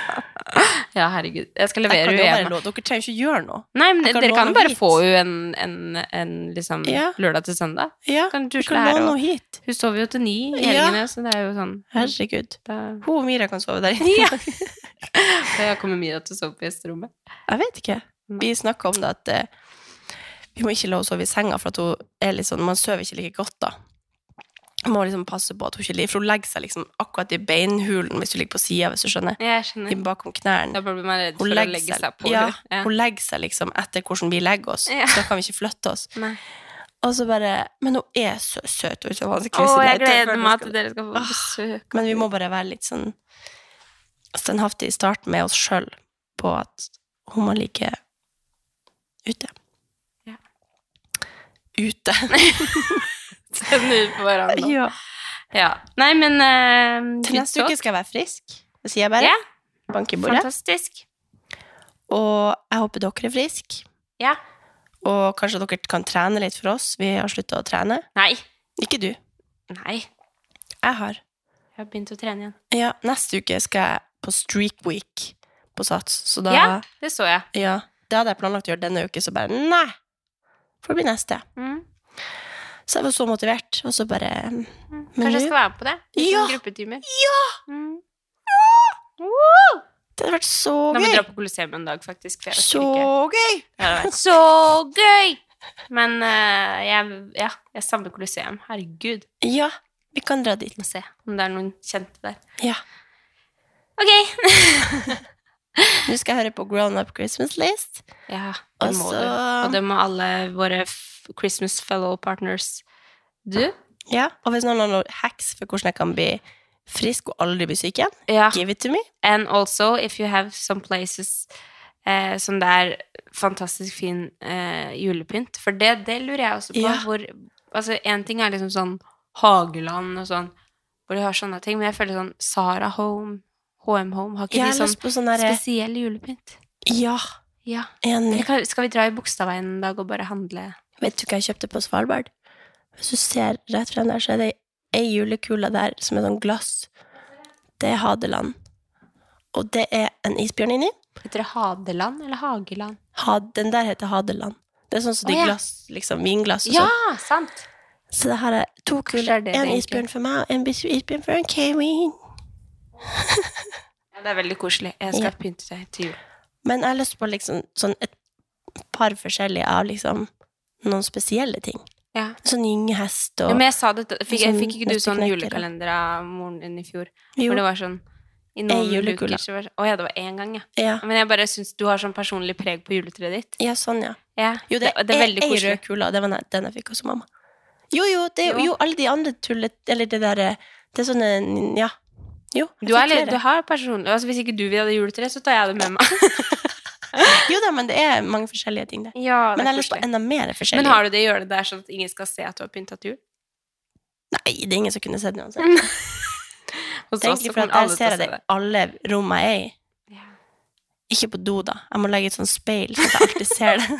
Speaker 2: ja, herregud. Jeg skal
Speaker 1: Jeg
Speaker 2: levere
Speaker 1: kan jo bare
Speaker 2: henne.
Speaker 1: låne- Dere trenger ikke gjøre noe.
Speaker 2: Nei, men
Speaker 1: jeg kan
Speaker 2: dere kan
Speaker 1: låne
Speaker 2: jo bare
Speaker 1: hit.
Speaker 2: få henne en, en, en liksom,
Speaker 1: Ja.
Speaker 2: lørdag til søndag.
Speaker 1: Ja,
Speaker 2: Kan du
Speaker 1: vi
Speaker 2: tusle
Speaker 1: kan
Speaker 2: her
Speaker 1: låne
Speaker 2: og
Speaker 1: henne hit.
Speaker 2: Hun sover jo til ni i
Speaker 1: Ja.
Speaker 2: helgene, så det er jo sånn
Speaker 1: Herregud.
Speaker 2: da,
Speaker 1: Hun og Mira kan sove der inne.
Speaker 2: ja. Da kommer Mira til å sove på gjesterommet.
Speaker 1: Jeg vet ikke. Vi snakka om det at eh, vi må ikke la henne sove i senga, for at hun er litt sånn Man sover ikke like godt da. Man må liksom passe på at hun ikke ligger For hun legger seg liksom akkurat i beinhulen hvis du ligger på sida, hvis du skjønner.
Speaker 2: Jeg
Speaker 1: I
Speaker 2: skjønner.
Speaker 1: bakom knærne.
Speaker 2: Da blir man redd
Speaker 1: Hun
Speaker 2: for å
Speaker 1: legger
Speaker 2: legge seg
Speaker 1: seg,
Speaker 2: på
Speaker 1: ja,
Speaker 2: henne. Ja.
Speaker 1: hun legger seg liksom etter hvordan vi legger oss,
Speaker 2: Ja.
Speaker 1: så da kan vi ikke flytte oss.
Speaker 2: Nei.
Speaker 1: Og så bare Men hun er så søt. Hun er så vanskelig å
Speaker 2: Å,
Speaker 1: si
Speaker 2: jeg
Speaker 1: nei til før
Speaker 2: gleder
Speaker 1: hun skal-
Speaker 2: meg til dere skal få besøk.
Speaker 1: Men vi må bare være litt sånn altså, standhaftige i starten med oss sjøl på at hun må like Ute.
Speaker 2: Ja.
Speaker 1: Ute.
Speaker 2: Sende ut på hverandre.
Speaker 1: ja.
Speaker 2: Ja. Nei, men eh,
Speaker 1: Til neste uke
Speaker 2: good talk.
Speaker 1: skal jeg være frisk. Det sier jeg bare.
Speaker 2: Ja.
Speaker 1: Bank i bordet.
Speaker 2: Fantastisk.
Speaker 1: Og jeg håper dere er friske.
Speaker 2: Ja.
Speaker 1: Og kanskje dere kan trene litt for oss. Vi har slutta å trene.
Speaker 2: Nei.
Speaker 1: Ikke du.
Speaker 2: Nei.
Speaker 1: Jeg har.
Speaker 2: Jeg har begynt å trene igjen.
Speaker 1: Ja, neste uke skal jeg på Streak Week på Sats. Så da
Speaker 2: Ja,
Speaker 1: ja.
Speaker 2: det så jeg.
Speaker 1: Det hadde jeg planlagt å gjøre denne uke, så bare nei! Får bli neste.
Speaker 2: Mm.
Speaker 1: Så jeg var så motivert, og så bare mm,
Speaker 2: Mm.
Speaker 1: Men
Speaker 2: Kanskje jeg
Speaker 1: du-
Speaker 2: skal være med på det? I
Speaker 1: Ja.
Speaker 2: sånne Gruppetimer. Mm.
Speaker 1: Det hadde vært så
Speaker 2: Da må vi
Speaker 1: gøy!
Speaker 2: dra på Colosseum en dag, faktisk. For jeg orker
Speaker 1: Så
Speaker 2: ikke.
Speaker 1: gøy!
Speaker 2: Det hadde vært så gøy! Men eh, jeg, ja, jeg savner Colosseum. Herregud.
Speaker 1: Ja, vi kan dra dit.
Speaker 2: Må se om det er noen kjente der.
Speaker 1: Ja.
Speaker 2: Ok!
Speaker 1: Nå skal jeg høre på Grown Up Christmas List.
Speaker 2: Ja, det
Speaker 1: Og
Speaker 2: må
Speaker 1: så-
Speaker 2: du. Og det må alle våre f Christmas fellow partners. Du?
Speaker 1: Ja, Og hvis noen har noen hacks for hvordan jeg kan bli frisk og aldri bli syk igjen,
Speaker 2: Ja.
Speaker 1: give it to me.
Speaker 2: And also, if you have some places eh, som det er fantastisk fin eh, julepynt For det, det lurer jeg også på.
Speaker 1: Ja.
Speaker 2: Hvor, altså, en ting er liksom sånn Hageland og sånn, hvor de har sånne ting, men jeg føler sånn Sara Home, HM Home, har ikke
Speaker 1: Jeg
Speaker 2: de
Speaker 1: har
Speaker 2: sånn
Speaker 1: lyst på sånn derre
Speaker 2: spesiell julepynt?
Speaker 1: Ja,
Speaker 2: Ja.
Speaker 1: enig.
Speaker 2: Jeg kan, skal vi dra i Bogstadveien en dag og bare handle
Speaker 1: Vet du hva jeg kjøpte på Svalbard? Hvis du ser rett frem der, så er det ei julekule der som er sånn glass. Det er Hadeland. Og det er en isbjørn inni.
Speaker 2: Heter det Hadeland eller Hageland?
Speaker 1: Ha- Den der heter Hadeland. Det er sånn som de
Speaker 2: Å, ja.
Speaker 1: glass, liksom vinglass og
Speaker 2: Ja,
Speaker 1: sånn.
Speaker 2: sant!
Speaker 1: Så det her er to
Speaker 2: Kanskje
Speaker 1: kuler.
Speaker 2: det er det
Speaker 1: En
Speaker 2: det
Speaker 1: isbjørn for meg, og en bis- isbjørn for en Kevin.
Speaker 2: Ja, det er veldig koselig. Jeg skal pynte deg til jul.
Speaker 1: Men jeg har lyst på liksom sånn et par forskjellige av liksom noen spesielle ting.
Speaker 2: Ja.
Speaker 1: Sånn gyngehest
Speaker 2: Ja,
Speaker 1: og
Speaker 2: men jeg sa det, fikk, jeg,
Speaker 1: Sånn
Speaker 2: fikk ikke du sånn
Speaker 1: nøtteknekker, da.
Speaker 2: julekalender av moren din i fjor?
Speaker 1: Jo,
Speaker 2: Hvor det var sånn I
Speaker 1: Ei
Speaker 2: noen
Speaker 1: julekule.
Speaker 2: uker så var det sånn, Å ja, det var én gang, ja.
Speaker 1: ja.
Speaker 2: Men jeg bare syns du har sånn personlig preg på juletreet ditt.
Speaker 1: ja, sånn, ja.
Speaker 2: Ja.
Speaker 1: Jo, det,
Speaker 2: det er
Speaker 1: er
Speaker 2: veldig
Speaker 1: ei
Speaker 2: koselig.
Speaker 1: rød kule, og det var den- den jeg fikk hos mamma. Jo, jo, det er jo,
Speaker 2: Jo.
Speaker 1: jo alle de andre tullet... Eller det derre Det er sånne Ja. Jo. jeg
Speaker 2: Du, er,
Speaker 1: fikk
Speaker 2: litt-
Speaker 1: flere.
Speaker 2: du har personlig altså, Hvis ikke du vil ha det juletreet, så tar jeg det med meg.
Speaker 1: Jo da, men det er mange forskjellige ting, det.
Speaker 2: Ja,
Speaker 1: Men jeg har lyst på enda mer forskjellige.
Speaker 2: Men har du det i hjørnet der, sånn at ingen skal se at du har pynta til jul?
Speaker 1: Nei, det er ingen som kunne sett det uansett.
Speaker 2: Hos
Speaker 1: Det er
Speaker 2: oss så
Speaker 1: egentlig for
Speaker 2: kommer
Speaker 1: at jeg
Speaker 2: alle til
Speaker 1: ser
Speaker 2: å se
Speaker 1: det
Speaker 2: det.
Speaker 1: i alle rommene jeg er i.
Speaker 2: Ja.
Speaker 1: Ikke på do, da. Jeg må legge et sånt speil, så jeg alltid ser det.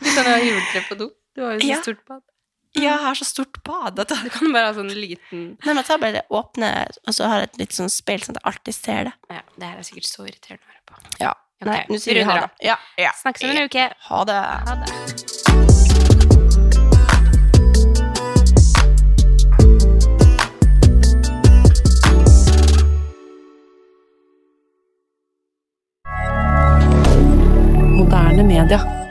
Speaker 2: Du kan jo ha juletre på do. Du har jo så
Speaker 1: Ja.
Speaker 2: stort bad.
Speaker 1: Ja, jeg har så stort bad. At jeg...
Speaker 2: Du kan bare ha sånn liten
Speaker 1: Nei, men jeg tar bare det åpne, og så har jeg et litt sånn speil, sånn at jeg alltid ser det.
Speaker 2: Ja, det her er sikkert så irriterende å høre på.
Speaker 1: Ja.
Speaker 2: Ok,
Speaker 1: Nei, nå sier vi
Speaker 2: runder
Speaker 1: ha
Speaker 2: av.
Speaker 1: det. Ja, ja.
Speaker 2: Snakkes om en uke.
Speaker 1: Ha det.
Speaker 2: Ha det.
Speaker 3: Moderne media.